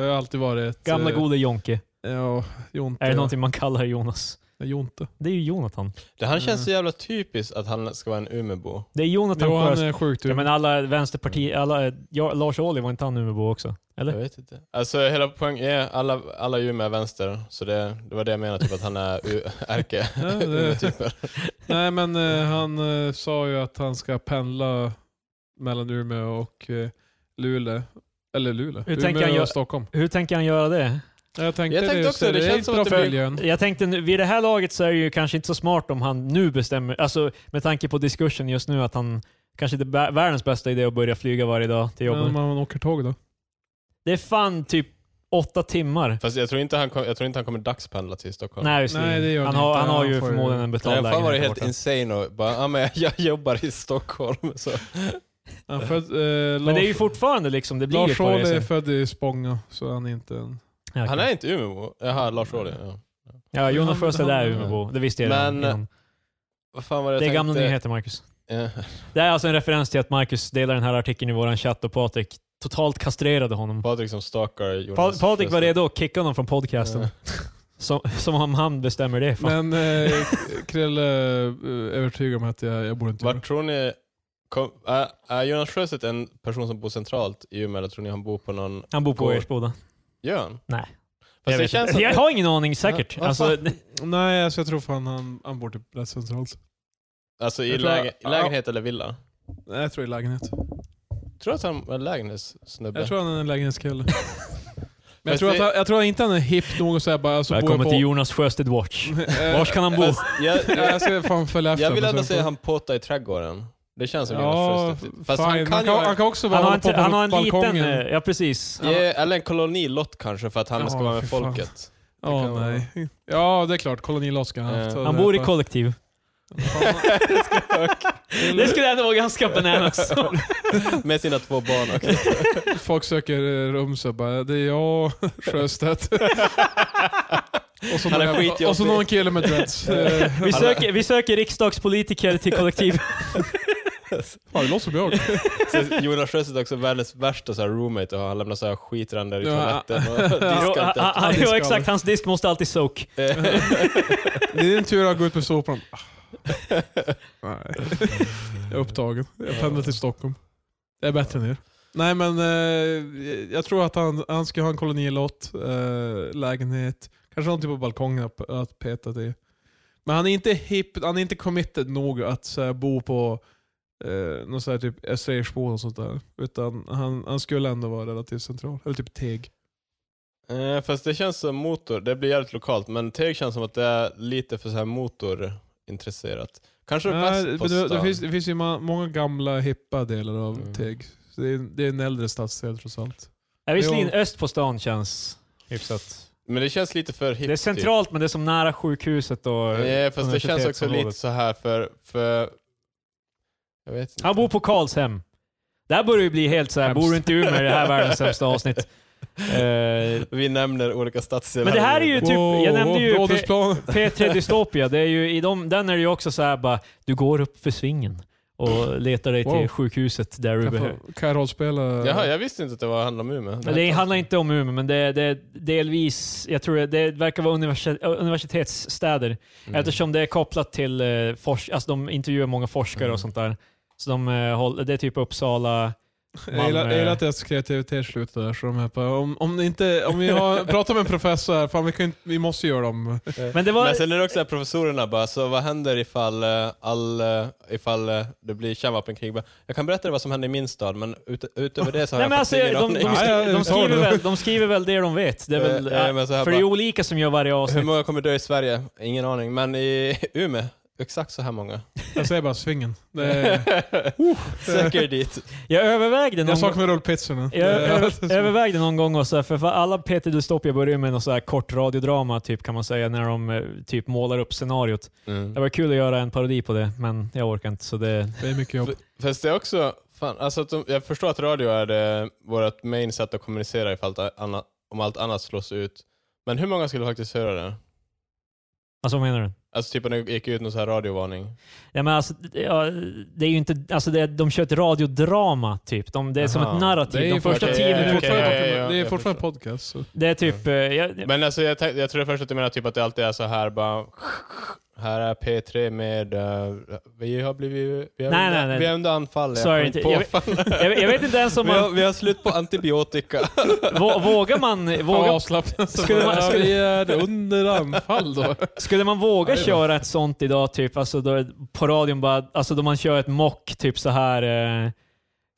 Speaker 4: har alltid varit ett...
Speaker 2: Gamla
Speaker 4: eh,
Speaker 2: gode Jonke.
Speaker 4: Ja, Jonte.
Speaker 2: Är det någonting man kallar Jonas?
Speaker 4: Ja, Jonte.
Speaker 2: Det är ju Jonathan.
Speaker 3: Det här känns
Speaker 2: Mm.
Speaker 3: så jävla typiskt att han ska vara en Umebo.
Speaker 2: Det är Jonathan
Speaker 4: Jo, han
Speaker 2: Sjöstedt.
Speaker 4: är sjukt
Speaker 2: Ja, men alla vänsterparti, alla, ja, Lars Ohly var inte han Umebo också?
Speaker 3: Jag
Speaker 2: Eller?
Speaker 3: vet inte. Alltså hela poängen, ja, alla, alla är ju med vänster, så det, det var det jag menade, typ att han är u- ärke. Typ.
Speaker 4: Ja, det-
Speaker 3: Typer.
Speaker 4: Nej men eh, han eh, sa ju att han ska pendla mellan Umeå och eh, Luleå. Eller Luleå.
Speaker 2: Hur
Speaker 4: Umeå
Speaker 2: tänker han
Speaker 4: och
Speaker 2: göra-
Speaker 4: Stockholm.
Speaker 2: Hur tänker han göra det?
Speaker 4: Jag tänkte,
Speaker 3: Jag tänkte
Speaker 4: det,
Speaker 3: också,
Speaker 4: så
Speaker 3: det känns
Speaker 4: är
Speaker 3: som
Speaker 4: bra
Speaker 3: att det
Speaker 4: för
Speaker 3: blir-
Speaker 4: miljön.
Speaker 2: Jag tänkte nu- vid det här laget så är det ju kanske inte så smart om han nu bestämmer, alltså med tanke på diskursen just nu att han kanske inte är världens bästa idé att börja flyga varje dag till jobbet.
Speaker 4: Men man åker tåg då.
Speaker 2: Det är fan typ åtta timmar.
Speaker 3: Fast jag tror, inte han kom, jag tror inte han kommer dagspendla till Stockholm.
Speaker 2: Nej, just
Speaker 4: Nej, det gör
Speaker 2: han,
Speaker 4: han
Speaker 2: har,
Speaker 4: inte.
Speaker 2: han har ju
Speaker 4: Han får ju-
Speaker 2: förmodligen en
Speaker 3: Nej,
Speaker 2: betald
Speaker 3: fan var det
Speaker 2: lägenhet där
Speaker 3: helt
Speaker 2: borta.
Speaker 3: insane och bara, ah, men jag jobbar i Stockholm. Så.
Speaker 4: Han är född, eh,
Speaker 2: Men det är ju
Speaker 4: Lars-
Speaker 2: fortfarande liksom, det blir ju
Speaker 4: Lars
Speaker 2: på det
Speaker 4: Ohly är
Speaker 2: sättet.
Speaker 4: född i Spånga, så han är inte en...
Speaker 2: Ja,
Speaker 3: Han
Speaker 2: okej.
Speaker 3: är inte Umeåbo. Jaha, Lars Ohly. Ja.
Speaker 2: Ja, Jonas
Speaker 4: Han-
Speaker 2: Sjöstedt är
Speaker 4: han-
Speaker 2: Umeåbo. Det visste jag redan
Speaker 3: Men,
Speaker 2: innan.
Speaker 3: Vad fan var det
Speaker 2: Det är
Speaker 3: jag
Speaker 2: gamla
Speaker 3: tänkte?
Speaker 2: nyheter, Marcus.
Speaker 3: Ja.
Speaker 2: Det är alltså en referens till att Marcus delar den här artikeln i våran chatt och Patrik totalt kastrerade honom.
Speaker 3: Patrik som stalkar
Speaker 2: Pa
Speaker 3: Jonas.
Speaker 2: Patrik var
Speaker 3: Sjöstedt.
Speaker 2: redo att kicka honom från podcasten.
Speaker 3: Ja.
Speaker 2: Som, som om han bestämmer det. Fan.
Speaker 4: Men eh, Krille eh, övertygar mig att jag, jag borde inte
Speaker 3: Vart tror ni... Kom, är, är Jonas Sjöstedt en person som bor centralt i Umeå eller tror ni han bor på någon...
Speaker 2: Han bor på
Speaker 3: Går.
Speaker 2: Ersboda.
Speaker 3: Gör han?
Speaker 2: Nej.
Speaker 3: Fast
Speaker 2: Jag,
Speaker 3: det
Speaker 2: vet
Speaker 3: känns
Speaker 2: inte. jag
Speaker 3: att,
Speaker 2: har ingen aning säkert.
Speaker 3: Ja, vad
Speaker 2: alltså,
Speaker 4: Nej, alltså jag tror fan han, han bor typ rätt centralt.
Speaker 3: Alltså i
Speaker 4: Jag tror-
Speaker 3: läge, lägenhet eller villa?
Speaker 4: Nej, jag tror i lägenhet.
Speaker 3: Tror att han var en lägenhetssnubbe?
Speaker 4: Jag tror han är en lägenhetskille. Men jag
Speaker 3: Fast
Speaker 4: tror, att
Speaker 3: det-
Speaker 4: han, jag tror inte han är hipp nog att säga bara alltså, bor
Speaker 2: välkommen
Speaker 4: jag på...
Speaker 2: till Jonas Sjöstedt Watch.
Speaker 4: Eh,
Speaker 2: Var kan han bo?
Speaker 3: Fast jag,
Speaker 4: ja, jag ska fan följa efter
Speaker 3: jag vill
Speaker 4: honom
Speaker 3: ändå
Speaker 4: sen.
Speaker 3: se han påta i trädgården. Det känns som
Speaker 4: Ja,
Speaker 3: Jonas Sjöstedt.
Speaker 4: fast
Speaker 3: Fast han kan, ju...
Speaker 4: han, kan också vara
Speaker 2: Han har, en,
Speaker 4: hålla på på
Speaker 2: han har en liten...
Speaker 4: balkongen.
Speaker 2: eh, Ja, precis.
Speaker 3: Ge, eller en kolonilott kanske för att han
Speaker 4: Ja,
Speaker 3: ska vara
Speaker 4: fy
Speaker 3: med
Speaker 4: fan.
Speaker 3: folket.
Speaker 4: Ja,
Speaker 3: kan vara-
Speaker 4: nej. Ja, det är klart. Kolonilott ska han ha haft.
Speaker 3: Eh.
Speaker 2: Han bor i kollektiv. Det skulle ändå vara ganska bananas.
Speaker 4: alltså-
Speaker 3: Med sina två barn också.
Speaker 4: Folk söker eh, rum så bara, det är jag, Sjöstedt. och, så
Speaker 3: Han är
Speaker 4: någon,
Speaker 3: skitjobbig.
Speaker 4: och så någon kille med dreads. Eh,
Speaker 2: Vi söker, vi söker riksdagspolitiker till kollektiv.
Speaker 4: Fan, det låter som jag.
Speaker 3: Så Jonas Sjöstedt är också världens värsta så här roommate och han lämnar så här skitränder i
Speaker 4: Ja,
Speaker 3: toaletten och
Speaker 2: Jo,
Speaker 3: diskar
Speaker 2: a-
Speaker 3: inte.
Speaker 2: a-
Speaker 4: Han
Speaker 2: jo
Speaker 4: är
Speaker 2: exakt, hans disk måste alltid soak.
Speaker 4: Det är din tur att gå ut med sopan. Ah. Nej. Jag är upptagen. Jag pendlar till Stockholm. Jag är bättre än er. Nej men eh, jag tror att han, han ska ha en kolonilott, eh, lägenhet, kanske någonting på balkongen att, att peta till. Men han är inte hip, han är inte committed nog att så här, bo på eh, någon så här, typ Esrangersbo och sånt där. Utan han, han skulle ändå vara relativt central. Eller typ Teg.
Speaker 3: Eh, fast det känns som motor, det blir jävligt lokalt, men Teg känns som att det är lite för så här motorintresserat. Kanske
Speaker 4: Nej,
Speaker 3: väst
Speaker 4: men
Speaker 3: på
Speaker 4: det, det,
Speaker 3: stan.
Speaker 4: finns, det finns ju ma- många gamla hippa delar av
Speaker 3: Mm.
Speaker 4: Teg. Så det, är, det är en äldre stadsdel trots allt.
Speaker 2: Ja, visserligen
Speaker 4: Jo.
Speaker 2: öst på stan känns hyfsat.
Speaker 3: Men det känns lite för hippt.
Speaker 2: Det är centralt men det är som nära sjukhuset och...
Speaker 3: Typ. Eh, typ. fast det känns också lite
Speaker 2: universitetsområdet.
Speaker 3: så här för... för jag vet inte.
Speaker 2: Han bor på Karlshem. Det här börjar ju bli helt såhär,
Speaker 4: Hemskt.
Speaker 2: bor du inte i Umeå är det här världens sämsta avsnitt. Eh,
Speaker 3: Vi nämner olika stadsdelar.
Speaker 2: Men det här är ju- typ- jag nämnde ju Pe-
Speaker 4: Rådhusplan.
Speaker 2: P3 Dystopia, det är ju, i dem, den är det ju också så här bara, du går upp för svingen och letar dig till
Speaker 4: Wow.
Speaker 2: sjukhuset där du
Speaker 4: Kan jag
Speaker 2: behöver.
Speaker 4: få- Kan jag rollspela?
Speaker 3: Jaha, jag visste inte att det var handlade om Umeå.
Speaker 2: Men det handlar inte om Umeå, men det är, det är delvis, jag tror det, det verkar vara universi- universitetsstäder.
Speaker 3: Mm.
Speaker 2: Eftersom det är kopplat till, eh, forsk- alltså de intervjuar många forskare
Speaker 3: Mm.
Speaker 2: och sånt där. Så de, eh, håller, det är typ Uppsala,
Speaker 4: Jag gillar,
Speaker 2: Malmö.
Speaker 4: jag gillar att deras kreativitet slutar där. Så de här, bara, om, om, ni inte, om vi har, pratar med en professor här, fan vi, kan, inte- vi måste göra dem.
Speaker 2: Men det var...
Speaker 3: Men sen är det också att professorerna bara, så vad händer ifall, eh, all, eh, ifall eh, det blir kärnvapenkrig? Bara, Jag kan berätta vad som hände i min stad, men ut, utöver det så har
Speaker 2: Nej,
Speaker 3: jag
Speaker 2: men
Speaker 3: faktiskt
Speaker 2: alltså, de, de,
Speaker 3: ingen aning.
Speaker 2: de,
Speaker 4: Nej, ja,
Speaker 2: skri- de,
Speaker 4: vi tar
Speaker 2: skriver
Speaker 4: det.
Speaker 2: väl, de skriver väl det de vet. Det är väl,
Speaker 3: Eh, eh, men så här
Speaker 2: för det är
Speaker 3: bara-
Speaker 2: olika som gör varje
Speaker 3: Hur
Speaker 2: avsnitt.
Speaker 3: många kommer dö i Sverige? Ingen aning, men i Umeå, exakt så här många.
Speaker 4: Jag säger bara svingen. Det
Speaker 3: eh,
Speaker 4: är,
Speaker 3: Säker dit.
Speaker 2: Jag övervägde någon
Speaker 4: jag saknar rullpizzorna.
Speaker 2: Jag ö- övervägde någon gång och så här, för för alla Peter Dystopia börjar ju med någon så här kort radiodrama typ kan man säga, när de eh, typ målar upp scenariot. Det var kul att göra en parodi på det, men jag orkar inte. Så det,
Speaker 4: Det är mycket jobb.
Speaker 3: Fast det är också, fan, alltså att de, jag förstår att radio är det, vårt main sätt att kommunicera ifall allt annat, om allt annat slås ut. Men hur många skulle faktiskt höra det?
Speaker 2: alltså vad menar du?
Speaker 3: Alltså typ när det gick ut någon så här radiovarning.
Speaker 2: Ja, men alltså, det- ja, det är ju inte, alltså det, de kör ett radiodrama typ. De, det är som
Speaker 3: Aha.
Speaker 2: ett narrativ. De första
Speaker 3: okej,
Speaker 2: tio
Speaker 3: ja, ja,
Speaker 2: minuterna.
Speaker 3: okej, ja, ja, ja,
Speaker 4: Det är
Speaker 3: jag
Speaker 4: fortfarande podcast. Så.
Speaker 2: Det är typ... eh, Jag,
Speaker 3: Men alltså jag, tänk- jag tror först att du menar typ att det alltid är så här bara, här är P3 med, eh, vi har blivit, vi har,
Speaker 2: Nej,
Speaker 3: under,
Speaker 2: nej, nej.
Speaker 3: Vi har under anfall.
Speaker 2: Sorry,
Speaker 3: kom
Speaker 2: inte-
Speaker 3: på,
Speaker 2: jag vet-
Speaker 3: fan.
Speaker 2: jag, jag vet inte ens om
Speaker 3: vi, har,
Speaker 2: man...
Speaker 3: vi har slut på antibiotika.
Speaker 2: vå- Vågar man... Vågar,
Speaker 4: avslappnat.
Speaker 2: Skulle man- skulle-
Speaker 4: Vi är under anfall då.
Speaker 2: Skulle man våga
Speaker 4: Ja, det är
Speaker 2: köra ett sånt idag, typ, alltså då, på radion, bara, alltså då man kör ett mock, typ så här eh,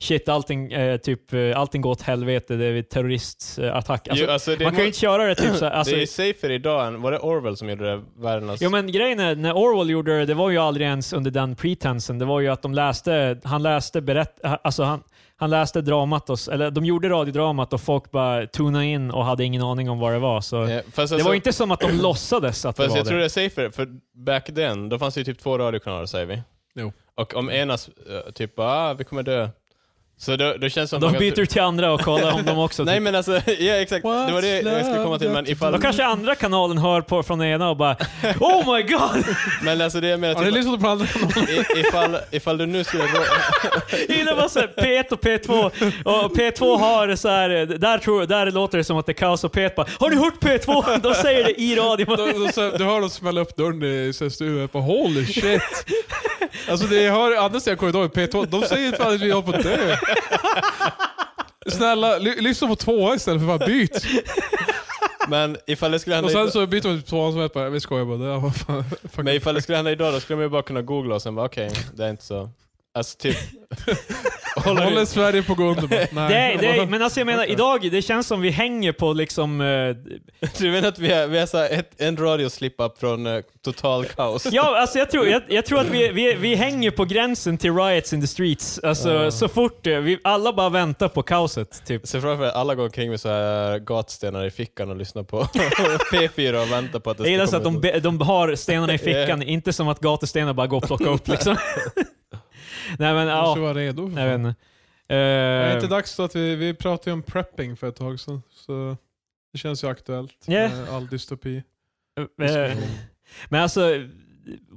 Speaker 2: shit, allting, eh, typ, eh, allting går åt helvete, det är vid terroristattack. Alltså,
Speaker 3: Jo, alltså, det,
Speaker 2: man kan ju
Speaker 3: må-
Speaker 2: inte köra det typ så här, alltså,
Speaker 3: det är ju safer idag än, var det Orwell som gjorde det? Världens...
Speaker 2: Jo men grejen är, när Orwell gjorde det, det var ju aldrig ens under den pretensen. Det var ju att de läste, han läste berätt, alltså han, han läste dramat, och, s- eller de gjorde radiodramat och folk bara tunade in och hade ingen aning om vad det var. Så.
Speaker 3: Eh, fast alltså,
Speaker 2: det var inte som att de låtsades att det
Speaker 3: Fast
Speaker 2: var
Speaker 3: jag
Speaker 2: det.
Speaker 3: tror det är safer, för back then, då fanns det ju typ två radiokanaler säger vi.
Speaker 4: Jo.
Speaker 3: Och om ena s- eh, typ bara, ah, vi kommer dö. Så då, då känns det som man
Speaker 2: De
Speaker 3: kan-
Speaker 2: byter till andra och kollar om de också... typ.
Speaker 3: Nej men alltså, ja exakt.
Speaker 4: typ- What's
Speaker 3: det var det jag skulle komma till.
Speaker 4: love
Speaker 3: Men,
Speaker 4: got to
Speaker 3: ifall,
Speaker 2: Då kanske andra kanalen hör på från ena och bara Oh my god!
Speaker 3: men alltså det jag menar,
Speaker 4: Har ni
Speaker 3: typ,
Speaker 4: lyssnat på andra kanaler?
Speaker 3: i- ifall, ifall du nu skulle rå,
Speaker 2: Innan var så här, P1 och P2. Och P2 har så här, där, tror, där låter det som att det är kaos och P1 bara Har ni hört P2? De säger det i radion.
Speaker 4: De- de- så- Du hör dem smälla upp dörren i studion på holy shit. Alltså det jag hör andra sidan korridoren, P2, de säger fan att vi håller på att dö. Snälla, ly- lyssna på tvåan istället för att byt.
Speaker 3: men ifall det skulle hända
Speaker 4: Och sen
Speaker 3: idag,
Speaker 4: så byter man till tvåan som är bara, vi skojar bara. Det här var fan, fuck.
Speaker 3: men ifall det skulle hända idag då skulle man ju bara kunna googla och sen bara okej, det är inte så. Alltså typ, håller
Speaker 4: Håller
Speaker 3: vi-
Speaker 4: Sverige på att gå under? bara, Nej.
Speaker 2: Det, är- det, är- men alltså jag menar, idag, det känns som vi hänger på liksom... eh,
Speaker 3: du menar att vi är, vi är så här ett, en radio slip up från eh, total kaos?
Speaker 2: Ja, alltså jag tror, jag, jag tror att vi, vi, vi hänger på gränsen till riots in the streets. Alltså så fort, eh, vi, alla bara väntar på kaoset typ.
Speaker 3: Se framför dig alla går omkring med så här gatstenar i fickan och lyssnar på P4 och väntar på att det
Speaker 2: Jag
Speaker 3: ska
Speaker 2: gillar så
Speaker 3: komma
Speaker 2: att de,
Speaker 3: ut.
Speaker 2: be- de har stenarna i fickan, inte som att gatustenar bara går och plockar upp liksom. Nej men
Speaker 4: måste
Speaker 2: ja,
Speaker 4: vara redo. för
Speaker 2: jag vet
Speaker 4: fan.
Speaker 2: inte.
Speaker 4: Är det inte
Speaker 2: Eh,
Speaker 4: dags då att vi, vi pratade ju om prepping för ett tag sedan. Så det känns ju aktuellt
Speaker 2: Ja.
Speaker 4: med all dystopi.
Speaker 2: eh, men alltså,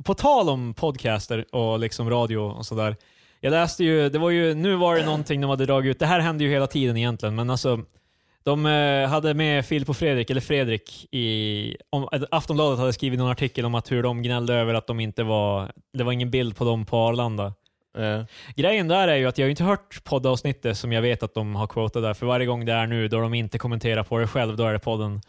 Speaker 2: på tal om podcaster och liksom radio och sådär. Jag läste ju, det var ju, nu var det någonting de hade dragit ut, det här hände ju hela tiden egentligen, men alltså de eh, hade med Filip och Fredrik, eller Fredrik, i, om, eh, Aftonbladet hade skrivit någon artikel om att hur de gnällde över att de inte var, det var ingen bild på dem på Arlanda.
Speaker 3: Ja.
Speaker 2: Grejen där är ju att jag har ju inte hört poddavsnittet som jag vet att de har quotat där, för varje gång det är nu då de inte kommenterar på det själv, då är det podden.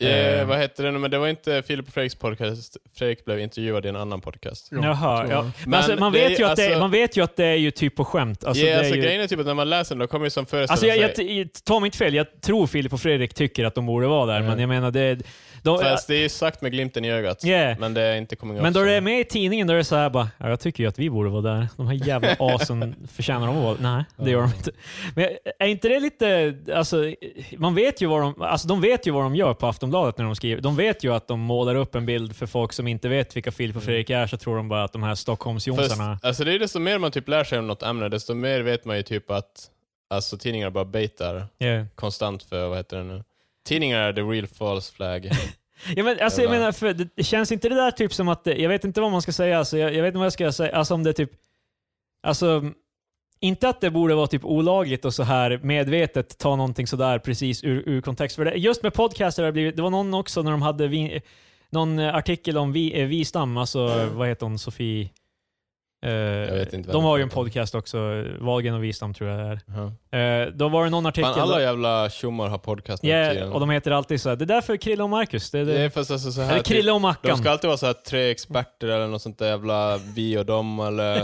Speaker 3: Eh,
Speaker 2: Eh.
Speaker 3: vad hette det nu? Men det var inte Filip och Fredriks podcast. Fredrik blev intervjuad i en annan podcast.
Speaker 4: Ja,
Speaker 2: Jaha,
Speaker 4: så.
Speaker 2: ja. Men,
Speaker 3: Men
Speaker 2: alltså, man,
Speaker 3: det är
Speaker 2: vet
Speaker 3: ju-
Speaker 2: ju att det,
Speaker 3: alltså-
Speaker 2: man vet ju att det är ju typ på skämt. Alltså,
Speaker 3: ja,
Speaker 2: det
Speaker 3: alltså
Speaker 2: är ju,
Speaker 3: grejen är typ att när man läser den, då kommer det som föreställa
Speaker 2: alltså jag,
Speaker 3: sig...
Speaker 2: jag, jag, ta mig inte fel, jag tror Filip och Fredrik tycker att de borde vara där,
Speaker 3: Ja.
Speaker 2: men jag menar det... De,
Speaker 3: fast det är ju sagt med glimten i ögat.
Speaker 2: Ja.
Speaker 3: Men det är inte coming
Speaker 2: men då det är
Speaker 3: det
Speaker 2: med i tidningen, då är det så här bara, ja, jag tycker ju att vi borde vara där. De här jävla asen, förtjänar de att vara Nej, det gör de inte. Men är inte det lite, alltså, man vet ju vad de, alltså de vet ju vad de gör på Aftonbladet när de skriver. De vet ju att de målar upp en bild för folk som inte vet vilka Filip
Speaker 3: Mm.
Speaker 2: och Fredrik är, så tror de bara att de här Stockholmsjonsarna...
Speaker 3: alltså det är ju desto mer man typ lär sig om något ämne, desto mer vet man ju typ att alltså, tidningar bara baitar
Speaker 2: Yeah.
Speaker 3: konstant för, vad heter det nu? Tidningar är the real false flag.
Speaker 2: Ja, men, alltså, jag
Speaker 3: Jävlar.
Speaker 2: menar, för det, det känns inte det där typ som att, det- jag vet inte vad man ska säga, alltså, jag, jag vet inte vad jag ska säga, alltså om det är typ, alltså, inte att det borde vara typ olagligt och så här medvetet ta någonting sådär precis ur, ur kontext. För det, just med podcaster har det blivit, det var någon också när de hade vi, eh, någon eh, artikel om vi, eh, Wistam, alltså vad heter hon, Sofie? Eh,
Speaker 3: Mm. vet inte vad
Speaker 2: de
Speaker 3: hon
Speaker 2: har ju en
Speaker 3: pratar om.
Speaker 2: podcast också, Wagen och Wistam tror jag det är.
Speaker 3: Ja.
Speaker 2: Eh, då var det någon artikel,
Speaker 3: Fan, alla jävla tjommar har podcast nu
Speaker 2: Ja,
Speaker 3: för tiden.
Speaker 2: och de heter alltid så här, det är därför Krille och Marcus, det, är det,
Speaker 3: Det är fast alltså så här,
Speaker 2: eller Krille och
Speaker 3: typ, de
Speaker 2: Mackan.
Speaker 3: ska alltid vara så här tre experter eller något sånt där jävla vi och dem eller...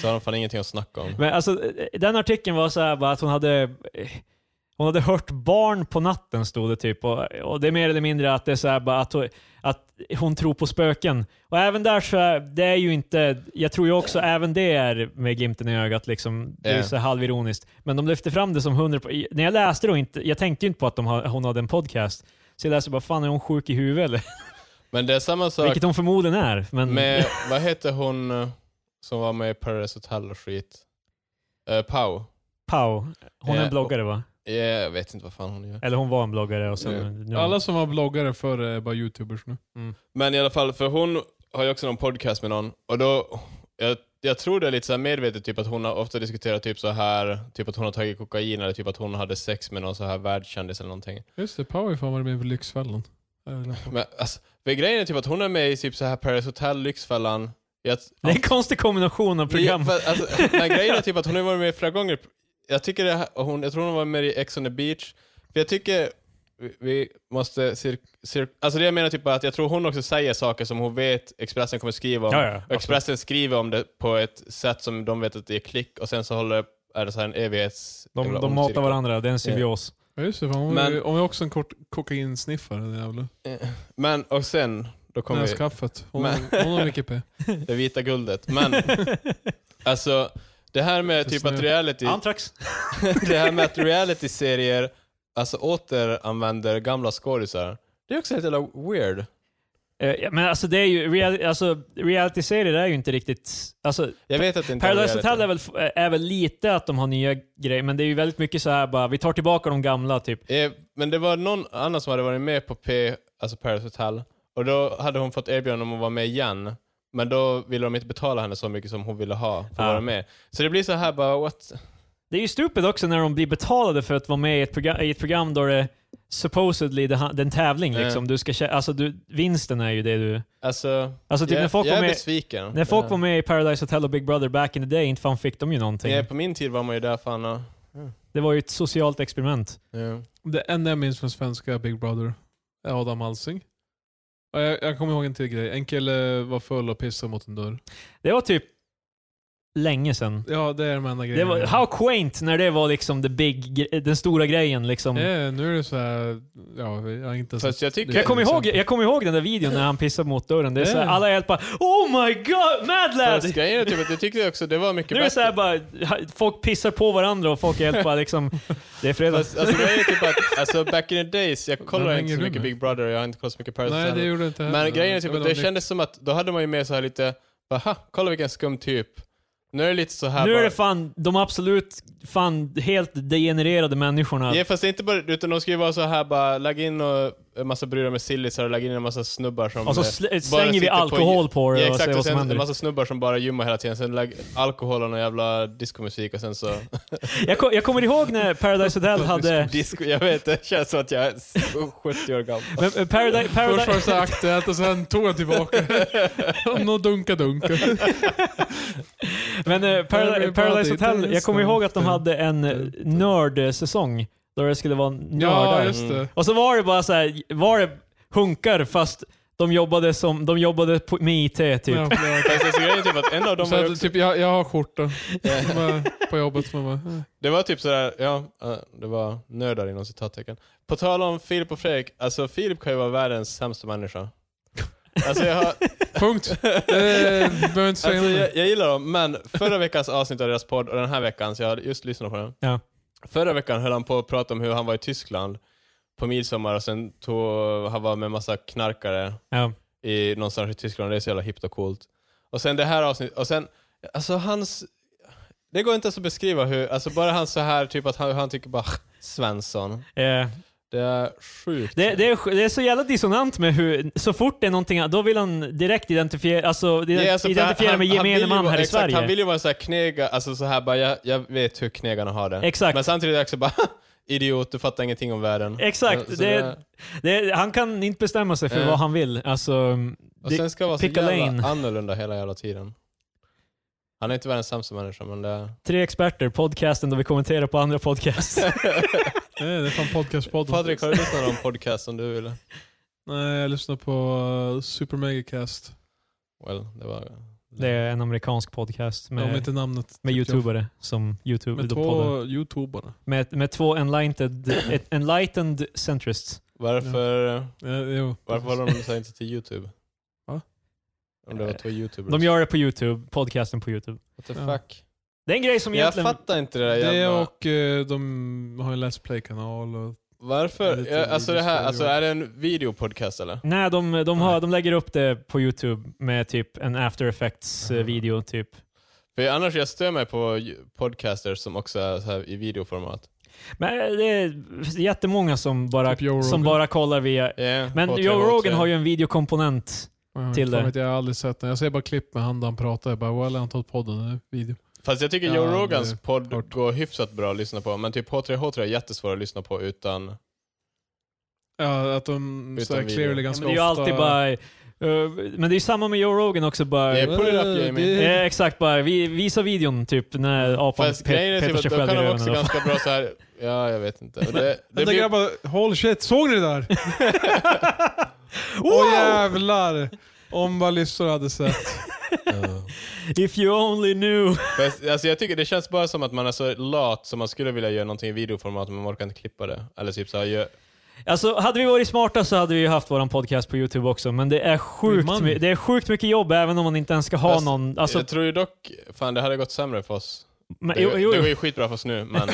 Speaker 3: så har de fan ingenting att snacka om.
Speaker 2: Men alltså, eh, den artikeln var så här bara att hon hade, eh, hon hade hört barn på natten, stod det typ. Och, och det är mer eller mindre att det är så här bara att, hon- att hon tror på spöken. Och även där så är det är ju inte, jag tror ju också även det är med glimten i ögat liksom. Det är
Speaker 3: Ja.
Speaker 2: så här halvironiskt. Men de lyfter fram det som hundra på- i- När jag läste det och inte, jag tänkte ju inte på att de, ha- hon hade en podcast. Så jag läste bara, fan är hon sjuk i huvudet eller?
Speaker 3: Men det är samma sak
Speaker 2: Vilket hon förmodligen är. Men,
Speaker 3: Med, vad heter hon eh, som var med i Paradise Hotel och skit? Uh, Pau?
Speaker 2: Pau, hon är
Speaker 3: Eh,
Speaker 2: en bloggare va?
Speaker 3: Ja, jag vet inte vad fan hon gör.
Speaker 2: Eller hon var en bloggare och sen...
Speaker 3: Eh,
Speaker 2: nu-
Speaker 4: Alla som var bloggare förr är bara youtubers nu.
Speaker 3: Men i alla fall, för hon har ju också någon podcast med någon och då, jag, jag tror det är lite så här medvetet typ att hon har ofta diskuterat typ så här, typ att hon har tagit kokain eller typ att hon hade sex med någon så här världskändis eller någonting.
Speaker 4: Just det, Power fan var med i Lyxfällan. Eller-
Speaker 3: Men alltså, för grejen är typ att hon är med i typ så här Paradise Hotel, Lyxfällan. Jag,
Speaker 2: Det är en konstig kombination av program.
Speaker 3: Ja, för- alltså, men grejen är typ att hon har varit med flera gånger. Jag, tycker det här, och hon, jag tror hon var med i Ex on the beach. För jag tycker vi- vi måste... Cir, cir, alltså det jag menar typ att jag tror hon också säger saker som hon vet Expressen kommer skriva om.
Speaker 2: Ja, ja,
Speaker 3: och Expressen skriver om det på ett sätt som de vet att det är klick och sen så håller, är det så här en evighets...
Speaker 2: De,
Speaker 3: jävla
Speaker 2: de
Speaker 3: ond
Speaker 2: matar
Speaker 3: cirkel.
Speaker 2: varandra, det är en symbios.
Speaker 4: Ja, just det, fan, hon, var ju-
Speaker 3: Men-
Speaker 4: hon är också en kort kokainsniffare, den jävla.
Speaker 3: Men, och sen, då kommer vi,
Speaker 4: Näskaffet. Hon,
Speaker 3: Men-
Speaker 4: hon har mycket p.
Speaker 3: det vita guldet. Men alltså, det här med
Speaker 4: För
Speaker 3: typ att
Speaker 4: snö.
Speaker 3: reality...
Speaker 2: Antrax.
Speaker 3: det här med att reality-serier alltså återanvänder gamla skådisar, det är också helt jävla weird.
Speaker 2: Eh, ja, Men alltså det är ju, real, alltså reality-serier är ju inte riktigt... Alltså,
Speaker 3: Jag vet att det inte
Speaker 2: Paradise
Speaker 3: reality.
Speaker 2: Hotel är väl, eh, är väl lite att de har nya grejer, men det är ju väldigt mycket så här bara, vi tar tillbaka de gamla typ.
Speaker 3: Eh, men det var någon annan som hade varit med på P, alltså Paradise Hotel, och då hade hon fått erbjudande om att vara med igen. Men då ville de inte betala henne så mycket som hon ville ha för att
Speaker 2: Ah.
Speaker 3: vara med. Så det blir så här bara, what?
Speaker 2: Det är ju stupid också när de blir betalade för att vara med i ett program, i ett program då det supposedly det, ha- det är en tävling
Speaker 3: Ja.
Speaker 2: liksom. Du ska, kä- alltså du, vinsten är ju det du...
Speaker 3: Alltså,
Speaker 2: Alltså typ
Speaker 3: jag,
Speaker 2: när folk
Speaker 3: jag
Speaker 2: var
Speaker 3: är
Speaker 2: med...
Speaker 3: besviken.
Speaker 2: När folk
Speaker 3: Eh,
Speaker 2: var med i Paradise Hotel och Big Brother back in the day, inte fan fick de ju någonting.
Speaker 3: ja, på min tid var man ju där fan och,
Speaker 2: Det var ju ett socialt experiment.
Speaker 3: ja.
Speaker 4: Det enda jag minns från svenska Big Brother är Adam Alsing. Och Jag, jag kommer ihåg en till grej. En kille var full och pissade mot en dörr.
Speaker 2: Det var typ länge sedan.
Speaker 4: Ja, det är de enda grejerna.
Speaker 2: Det var, how quaint när det var liksom the big, gre- den stora grejen liksom.
Speaker 4: Ja, nu är det så här... Ja, jag har inte ens-
Speaker 3: Fast jag tycker-
Speaker 2: Jag kommer, ihåg, jag kommer ihåg den där videon när han pissar mot dörren. Det är såhär,
Speaker 4: Ja.
Speaker 2: alla är helt bara Oh my god, mad lad!
Speaker 3: Fast grejen är typ att jag tyckte också det var mycket
Speaker 2: Nu är det
Speaker 3: bättre.
Speaker 2: såhär bara, folk pissar på varandra och folk är helt bara liksom, det är fredag.
Speaker 3: Fast, alltså, grejen är typ att, alltså back in the days, jag kollar
Speaker 4: hänger
Speaker 3: inte så
Speaker 4: du
Speaker 3: mycket
Speaker 4: med?
Speaker 3: Big Brother och jag har inte kollat så mycket Paradise
Speaker 4: Nej, det
Speaker 3: Hotel.
Speaker 4: gjorde jag inte heller.
Speaker 3: Men grejen är
Speaker 4: Jag
Speaker 3: typ
Speaker 4: vet
Speaker 3: att
Speaker 4: inte
Speaker 3: det
Speaker 4: om ni-
Speaker 3: kändes som att då hade man ju med så här lite, aha, kolla vilken skum typ. Nu är det lite så här
Speaker 2: Nu är
Speaker 3: bara,
Speaker 2: det fan de absolut fan helt degenererade människorna.
Speaker 3: Ja fast det är inte bara utan de ska ju vara så här bara, lägg in och, en massa brudar med sillisar och lägg in en massa snubbar som...
Speaker 2: Och så
Speaker 3: eh,
Speaker 2: sl-
Speaker 3: bara
Speaker 2: Alltså, slänger vi
Speaker 3: sitter på-
Speaker 2: alkohol på, det
Speaker 3: Ja
Speaker 2: och
Speaker 3: exakt,
Speaker 2: ser
Speaker 3: och
Speaker 2: vad som
Speaker 3: sen en
Speaker 2: händer.
Speaker 3: massa snubbar som bara gymmar hela tiden, sen lägg alkohol och någon jävla discomusik och sen så...
Speaker 2: Jag, ko- jag kommer ihåg när Paradise Hotel hade...
Speaker 3: Disco, jag vet, det känns som att jag är 70 år gammal.
Speaker 2: Men, men Paradise,
Speaker 4: Först var det
Speaker 2: Paradise,
Speaker 4: så här aktuellt och sen tog han tillbaka det. Någon dunka-dunka.
Speaker 2: men, eh, Paradise, Paradise Hotel, jag kommer ihåg att de hade en eh, nördsäsong. Då det skulle vara
Speaker 4: Ja,
Speaker 2: nördar. Mm.
Speaker 4: just det.
Speaker 2: Och så var det bara så här, var det hunkar fast de jobbade, som, de jobbade på, med IT typ.
Speaker 4: Ja, förlåt.
Speaker 3: Fast alltså, grejen är typ att en av dem
Speaker 4: så
Speaker 3: var ju
Speaker 4: att,
Speaker 3: också,
Speaker 4: typ, jag, jag har skjortan
Speaker 3: Ja.
Speaker 4: som är på jobbet. Som jag bara, eh.
Speaker 3: Det var typ sådär, ja, eh, det var nördar inom citattecken. På tal om Filip och Fredrik, alltså Filip kan ju vara världens sämsta människa. Alltså jag, har,
Speaker 4: punkt. Eh, behöver inte säga
Speaker 3: alltså
Speaker 4: mer.
Speaker 3: jag, jag gillar dem, men förra veckans avsnitt av deras podd och den här veckans, jag har just lyssnat på den.
Speaker 2: Ja.
Speaker 3: Förra veckan höll han på att prata om hur han var i Tyskland på midsommar och sen tog, han var med en massa knarkare
Speaker 2: Ja.
Speaker 3: i, någonstans i Tyskland. Det är så jävla hippt och coolt. Och sen det här avsnittet, och sen, alltså hans... Det går inte ens att beskriva hur, alltså bara han så här typ att han, han tycker bara Svensson.
Speaker 2: Eh,
Speaker 3: Det är sjukt.
Speaker 2: Det, det, är, sj- det är så jävla dissonant med hur, så fort det är någonting, då vill han direkt identifiera, alltså,
Speaker 3: Det
Speaker 2: ident-
Speaker 3: är alltså för
Speaker 2: identifiera
Speaker 3: han-
Speaker 2: med
Speaker 3: han vill
Speaker 2: gemene
Speaker 3: ju
Speaker 2: man
Speaker 3: vara-
Speaker 2: här i
Speaker 3: exakt,
Speaker 2: Sverige.
Speaker 3: Han vill ju vara så här knega, alltså så här bara, jag, jag vet hur knegarna har det.
Speaker 2: Exakt.
Speaker 3: Men samtidigt är jag också bara, idiot, du fattar ingenting om världen.
Speaker 2: Exakt,
Speaker 3: Så- så
Speaker 2: det- det, han kan inte bestämma sig för
Speaker 3: Eh.
Speaker 2: vad han vill. Alltså,
Speaker 3: och
Speaker 2: det-
Speaker 3: sen ska det vara så
Speaker 2: pick a
Speaker 3: jävla
Speaker 2: lane.
Speaker 3: annorlunda hela jävla tiden. Han är inte världens sämsta människa, men det är...
Speaker 2: tre experter, podcasten då vi kommenterar på andra podcasts.
Speaker 4: Eh, Det är fan podcastpodden.
Speaker 3: Patrik, har du lyssnat på någon podcast som du ville?
Speaker 4: Nej, jag lyssnar på uh, Super Megacast.
Speaker 3: Well, det var...
Speaker 2: det är en amerikansk podcast
Speaker 4: Om
Speaker 2: med,
Speaker 4: inte namnet.
Speaker 2: med
Speaker 4: tycker jag.
Speaker 2: youtubare som youtube
Speaker 4: typ- Med
Speaker 2: med,
Speaker 4: två youtubarna.
Speaker 2: med, med två enlightened, ett- enlightened centrists.
Speaker 3: Varför,
Speaker 4: Eh, jo.
Speaker 3: varför håller de sig inte till YouTube?
Speaker 4: Va?
Speaker 3: Om det var två YouTubers.
Speaker 2: De gör det på youtube, podcasten på youtube.
Speaker 3: What the
Speaker 4: Ja.
Speaker 3: fuck?
Speaker 2: Det är en grej som
Speaker 3: Jag
Speaker 2: egentligen...
Speaker 3: fattar inte det där
Speaker 4: Det
Speaker 3: jävla...
Speaker 4: och eh, de har en Let's Play-kanal. Och,
Speaker 3: Varför?
Speaker 4: Lite
Speaker 3: Ja, alltså det här,
Speaker 4: videostudio.
Speaker 3: alltså är det en videopodcast eller?
Speaker 2: Nej, de, de, har, de lägger upp det på Youtube med typ en after
Speaker 3: Aha.
Speaker 2: effects-video. typ.
Speaker 3: För annars jag stör mig på ju- podcasters som också är så här i videoformat.
Speaker 2: Men eh, det är jättemånga som bara,
Speaker 4: Typ Joe
Speaker 2: som
Speaker 4: Rogan.
Speaker 2: bara kollar via...
Speaker 3: Yeah,
Speaker 2: Men Joe Rogan har ju en videokomponent.
Speaker 4: jag,
Speaker 2: Till det.
Speaker 4: vet, jag har aldrig sett den. Jag ser bara klipp med han där han pratar. Jag bara, well, jag har inte hört podden. Det är video.
Speaker 3: Fast jag tycker
Speaker 4: Ja,
Speaker 3: Joe
Speaker 4: det
Speaker 3: Rogans
Speaker 4: är
Speaker 3: podd
Speaker 4: klart.
Speaker 3: går hyfsat bra att lyssna på, men typ H3H3 är jättesvår att lyssna på utan...
Speaker 4: Ja, att de
Speaker 3: Utan
Speaker 4: så här,
Speaker 3: video.
Speaker 4: clearly
Speaker 2: Ja, men
Speaker 4: ganska
Speaker 2: det är ju
Speaker 4: ofta...
Speaker 2: alltid bara... eh, men det är ju samma med Joe Rogan också. Bara,
Speaker 3: Yeah, pull it up Jamie.
Speaker 4: det-
Speaker 2: Eh, exakt, bara vi, visa videon typ när apan
Speaker 3: Mm. Fast
Speaker 2: pe-
Speaker 3: grejen är
Speaker 2: petar
Speaker 3: typ
Speaker 2: sig
Speaker 3: att då
Speaker 2: själv i
Speaker 3: kan de
Speaker 2: öronen.
Speaker 3: också ganska bra så här. ja jag vet inte. Och Det, det
Speaker 4: Den där
Speaker 3: blir,
Speaker 4: grabbar, håll shit, såg ni det där?
Speaker 2: Wow!
Speaker 4: Åh jävlar! Om vad lyssnare hade sett.
Speaker 2: If you only knew.
Speaker 3: fast, alltså jag tycker det känns bara som att man är så lat som man skulle vilja göra någonting i videoformat men man orkar inte klippa det. Eller typ så här, gör,
Speaker 2: Alltså, hade vi varit smarta så hade vi ju haft vår podcast på Youtube också, men det är sjukt,
Speaker 4: Man.
Speaker 2: my- det är sjukt mycket jobb även om man inte ens ska ha
Speaker 3: Fast,
Speaker 2: någon... Alltså,
Speaker 3: jag tror ju dock, fan det hade gått sämre för oss.
Speaker 2: men,
Speaker 3: Det,
Speaker 2: jo, jo,
Speaker 3: det
Speaker 2: jo.
Speaker 3: går ju skitbra för oss nu men...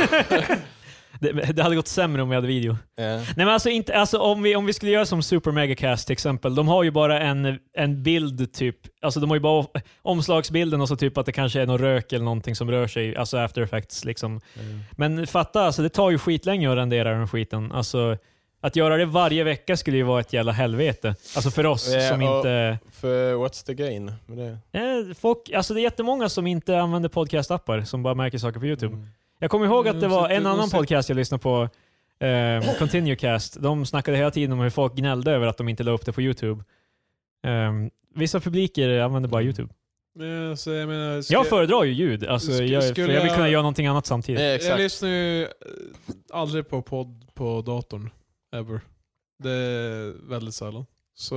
Speaker 2: Det, det hade gått sämre om vi hade video.
Speaker 3: Ja.
Speaker 2: Nej men alltså, inte, alltså om, vi, om vi skulle göra som Super Megacast till exempel, de har ju bara en, en bild typ, alltså de har ju bara o- omslagsbilden och så typ att det kanske är någon rök eller någonting som rör sig, alltså after effects liksom.
Speaker 3: Mm.
Speaker 2: Men fatta, alltså, det tar ju skitlänge att rendera den skiten. Alltså, att göra det varje vecka skulle ju vara ett jävla helvete. Alltså för oss
Speaker 3: Ja,
Speaker 2: som
Speaker 3: och-
Speaker 2: inte...
Speaker 3: För what's the gain med det?
Speaker 2: Eh, folk, alltså det är jättemånga som inte använder podcast-appar, som bara märker saker på YouTube.
Speaker 3: Mm.
Speaker 2: Jag kommer ihåg att
Speaker 4: Mm,
Speaker 2: det var
Speaker 4: så att
Speaker 2: en
Speaker 4: du-
Speaker 2: annan
Speaker 4: och så-
Speaker 2: podcast jag lyssnade på, eh, Continuecast. De snackade hela tiden om hur folk gnällde över att de inte la upp det på YouTube. Eh, vissa publiker använder
Speaker 4: Mm.
Speaker 2: bara YouTube.
Speaker 4: Men, alltså, jag menar, ska-
Speaker 2: Jag föredrar ju ljud, alltså,
Speaker 4: Sk-
Speaker 2: jag, för
Speaker 4: skulle
Speaker 2: jag vill kunna
Speaker 4: jag-
Speaker 2: göra någonting annat
Speaker 3: Ja,
Speaker 2: samtidigt.
Speaker 4: Jag
Speaker 3: exakt.
Speaker 4: lyssnar ju eh, aldrig på podd på datorn. Ever. Det är väldigt sällan. Så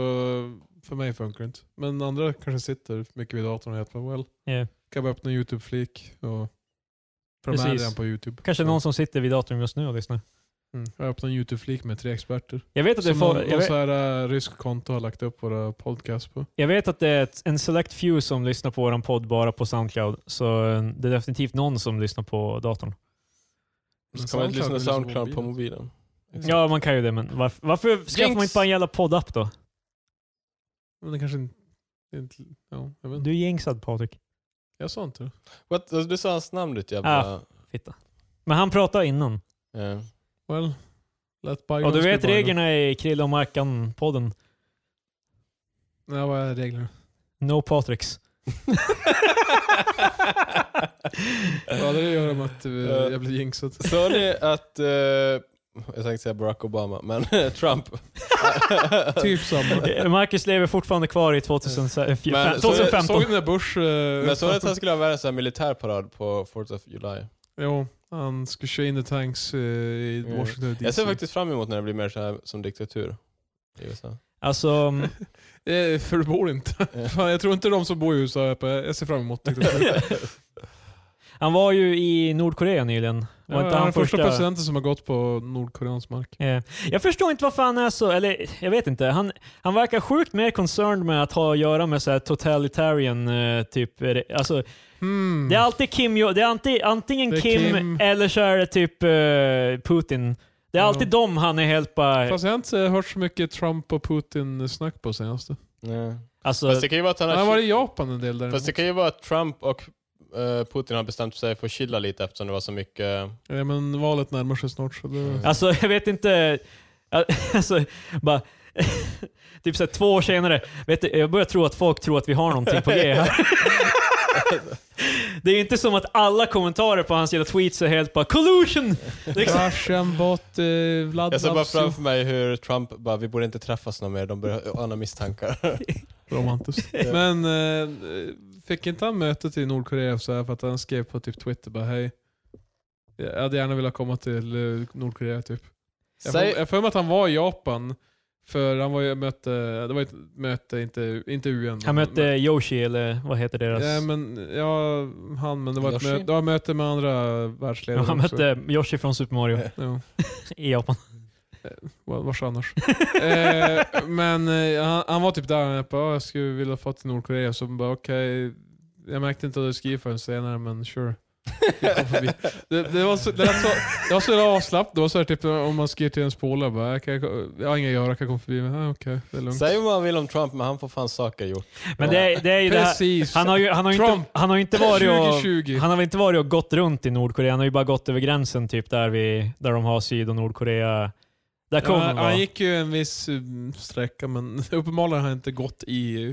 Speaker 4: för mig funkar det inte. Men andra kanske sitter mycket vid datorn och heter well,
Speaker 2: Ja.
Speaker 4: kan bara öppna en YouTube-flik och... För de är
Speaker 2: Precis.
Speaker 4: redan på YouTube.
Speaker 2: Kanske
Speaker 4: Så,
Speaker 2: någon som sitter vid datorn just nu och lyssnar.
Speaker 4: Mm. Jag öppnar en YouTube-flik med tre experter.
Speaker 2: Jag vet att det,
Speaker 4: Som
Speaker 2: får,
Speaker 4: någon,
Speaker 2: jag
Speaker 4: någon
Speaker 2: vet,
Speaker 4: så här, eh, rysk konto har lagt upp våra podcast på.
Speaker 2: jag vet att det är ett, en select few som lyssnar på vår podd bara på Soundcloud, så eh, det är definitivt någon som lyssnar på datorn.
Speaker 4: Men
Speaker 3: Ska man inte lyssna på
Speaker 4: lyssnar
Speaker 3: Soundcloud på mobilen?
Speaker 2: Ja, man kan ju det, men varför, varför skaffar man inte bara en jävla poddapp då?
Speaker 4: Men det kanske inte... inte ja, jag, vet. inte.
Speaker 2: Du är jinxad Patrik.
Speaker 4: jag sa inte det.
Speaker 3: What? Alltså, Du sa hans namn ditt
Speaker 2: Ah.
Speaker 3: jävla... Eh,
Speaker 2: Fitta. Men han pratade innan.
Speaker 3: Ja.
Speaker 4: Well, let bygones
Speaker 2: Och du vet
Speaker 4: be bygones.
Speaker 2: reglerna i Krille och Mackan-podden.
Speaker 4: Nej, vad är reglerna?
Speaker 2: No Patricks.
Speaker 4: Ja, det gör de att eh,
Speaker 3: Eh.
Speaker 4: jag blir jinxad.
Speaker 3: Såg ni att... eh, jag tänkte säga Barack Obama, men Trump.
Speaker 4: typ samma.
Speaker 2: Marcus lever fortfarande kvar i 2004,
Speaker 3: Men
Speaker 2: fem-
Speaker 3: så-
Speaker 2: 2015.
Speaker 4: Såg ni när Bush... eh,
Speaker 3: Men såg ni att han skulle ha världens så här militärparad på 4th of July?
Speaker 4: Jo, han skulle köra in the tanks eh, i
Speaker 3: Mm.
Speaker 4: Washington DC.
Speaker 3: Jag ser faktiskt fram emot när det blir mer så här som diktatur i USA.
Speaker 2: Alltså, mm,
Speaker 4: Eh, för du bor inte. Fan, jag tror inte de som bor i USA är på... Jag ser fram emot det. Ja,
Speaker 2: han var ju i Nordkorea nyligen. Var
Speaker 4: han
Speaker 2: inte
Speaker 4: är
Speaker 2: han
Speaker 4: den första
Speaker 2: första
Speaker 4: presidenten som har gått på Nordkoreansk mark.
Speaker 2: Eh, Jag förstår inte varför han är så, eller jag vet inte. Han, han verkar sjukt mer concerned med att ha att göra med så här totalitarian eh, typ. eh, det- Alltså,
Speaker 4: Hmm.
Speaker 2: Det är alltid Kim, Jo- det är anti, antingen
Speaker 4: Det är
Speaker 2: Kim,
Speaker 4: Kim.
Speaker 2: eller så är det typ eh, Putin. Det är
Speaker 4: Ja.
Speaker 2: alltid dem han är helt bara...
Speaker 4: Fast jag har inte hört så mycket Trump och Putin-snack på senaste.
Speaker 3: Nej.
Speaker 2: alltså,
Speaker 3: Fast det kan ju vara att han
Speaker 4: Han har
Speaker 3: har...
Speaker 4: varit i Japan en del där.
Speaker 3: Fast det kan ju vara att Trump och eh, Putin har bestämt sig för att chilla lite eftersom det var så mycket...
Speaker 4: Ja, men valet närmar sig snart. Så det...
Speaker 2: Alltså jag vet inte... Alltså, bara... typ såhär två år senare, vet du, jag börjar tro att folk tror att vi har någonting på G här. Det är ju inte som att alla kommentarer på hans jävla tweets är helt bara “collusion”. Liksom.
Speaker 4: Russian bot, eh, Vlad
Speaker 3: Jag ser bara
Speaker 4: Lapsu.
Speaker 3: framför mig hur Trump bara, vi borde inte träffas någon mer, de börjar ana misstankar.
Speaker 4: Romantiskt. Men eh, fick inte han mötet i Nordkorea så här för att han skrev på typ Twitter bara hej. Jag hade gärna velat komma till eh, Nordkorea typ. Jag får-
Speaker 3: Säg-
Speaker 4: jag får för mig att han var i Japan. För han var ju möte, det var ett möte, inte, inte UN.
Speaker 2: Han
Speaker 4: men-
Speaker 2: mötte Yoshi, eller vad heter deras...
Speaker 4: Ja, men, ja, han, men det var, ett
Speaker 3: Yoshi?
Speaker 4: möte, det var ett möte med andra världsledare
Speaker 2: han
Speaker 4: också.
Speaker 2: mötte Yoshi från Super Mario
Speaker 4: Ja,
Speaker 2: i Japan.
Speaker 4: var- vars annars? eh, men eh, han, han var typ där och jag bara, "Ah, jag skulle vilja få till Nordkorea. Så bara okej, jag märkte inte att du skrev förrän senare men sure. Jag kom förbi. Det, det var så, det lät så, jag var så jävla avslappnad. Det var så här, typ om man skriver till ens polare bara, jag, kan, jag har inga att göra, jag kan komma förbi. Men, ah, okej, det är lugnt.
Speaker 3: Säg vad man vill om Trump, men han får fan saker gjort.
Speaker 2: Men det, är- det är ju det här...
Speaker 4: Precis.
Speaker 2: Han har ju, han har ju inte,
Speaker 4: Trump.
Speaker 2: han har ju inte varit och...
Speaker 4: 2020.
Speaker 2: Han har väl inte varit och gått runt i Nordkorea, han har ju bara gått över gränsen typ där, vi, där de har Syd och Nordkorea. Där kom
Speaker 4: Ja,
Speaker 2: han,
Speaker 4: han
Speaker 2: va?
Speaker 4: gick ju en viss mm, sträcka men uppenbarligen har han inte gått i eh,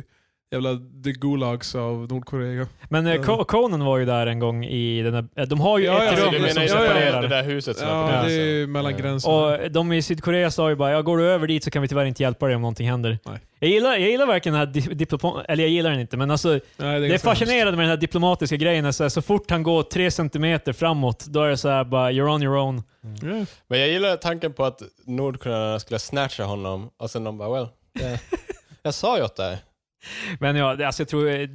Speaker 4: jävla the gulags av Nordkorea.
Speaker 2: Men eh, Ko- Conan var ju där en gång i den där, eh, De har ju
Speaker 4: Ja,
Speaker 2: ett
Speaker 4: ja,
Speaker 3: Alltså,
Speaker 2: rum
Speaker 3: du
Speaker 4: men-
Speaker 2: som
Speaker 3: menar ju
Speaker 4: ja, ja,
Speaker 2: separerar.
Speaker 3: det där huset som är
Speaker 4: Ja,
Speaker 3: på
Speaker 4: det är
Speaker 3: gränsen?
Speaker 4: ju mellan
Speaker 3: Ja.
Speaker 4: gränserna.
Speaker 2: alltså. Och de i Sydkorea sa ju bara ja, går du över dit så kan vi tyvärr inte hjälpa dig om någonting händer.
Speaker 4: Nej.
Speaker 2: Jag gillar, jag gillar verkligen den här di- diplopon... Eller jag gillar den inte, men alltså
Speaker 4: Nej,
Speaker 2: det är
Speaker 4: ganska
Speaker 2: fascinerande med den här diplomatiska grejen. Alltså, Så, här, så fort han går tre centimeter framåt, då är det så här bara you're on your own.
Speaker 4: hemskt. Ja.
Speaker 3: Men jag gillar tanken på att Nordkoreanerna skulle snatcha honom och sen de bara well, det, jag sa ju åt dig.
Speaker 2: Men ja, det- alltså jag tror... eh,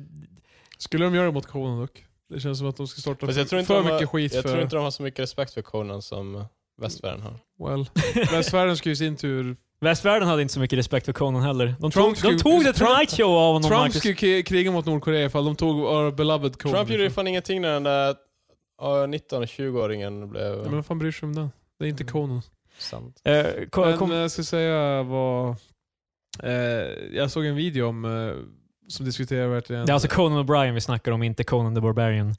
Speaker 4: Skulle de göra det mot Conan dock? Det känns som att de ska starta
Speaker 3: Fast jag tror inte
Speaker 4: för
Speaker 3: de har,
Speaker 4: mycket skit
Speaker 3: Jag
Speaker 4: för...
Speaker 3: tror inte de har så mycket respekt för Conan som västvärlden har.
Speaker 4: Well, västvärlden skulle i sin tur...
Speaker 2: Västvärlden hade inte så mycket respekt för Conan heller. De
Speaker 4: Trump
Speaker 2: tog, de
Speaker 4: skulle-
Speaker 2: tog The
Speaker 4: Trump-
Speaker 2: Tonight Show av honom,
Speaker 4: Trump
Speaker 2: Marcus.
Speaker 4: skulle k- kriga mot Nordkorea ifall de tog our beloved Conan.
Speaker 3: Trump gjorde ju fan ingenting när den där 19-20-åringen blev...
Speaker 4: ja, men vad fan bryr sig om den? Det är inte
Speaker 2: Mm.
Speaker 4: Conan.
Speaker 3: Sant.
Speaker 2: Eh, ko-
Speaker 4: Men
Speaker 2: kom,
Speaker 4: eh, jag skulle säga vad... Eh, jag såg en video om, eh, som diskuterar verkligen...
Speaker 2: det är alltså Conan O'Brien vi snackar om, inte Conan the Barbarian.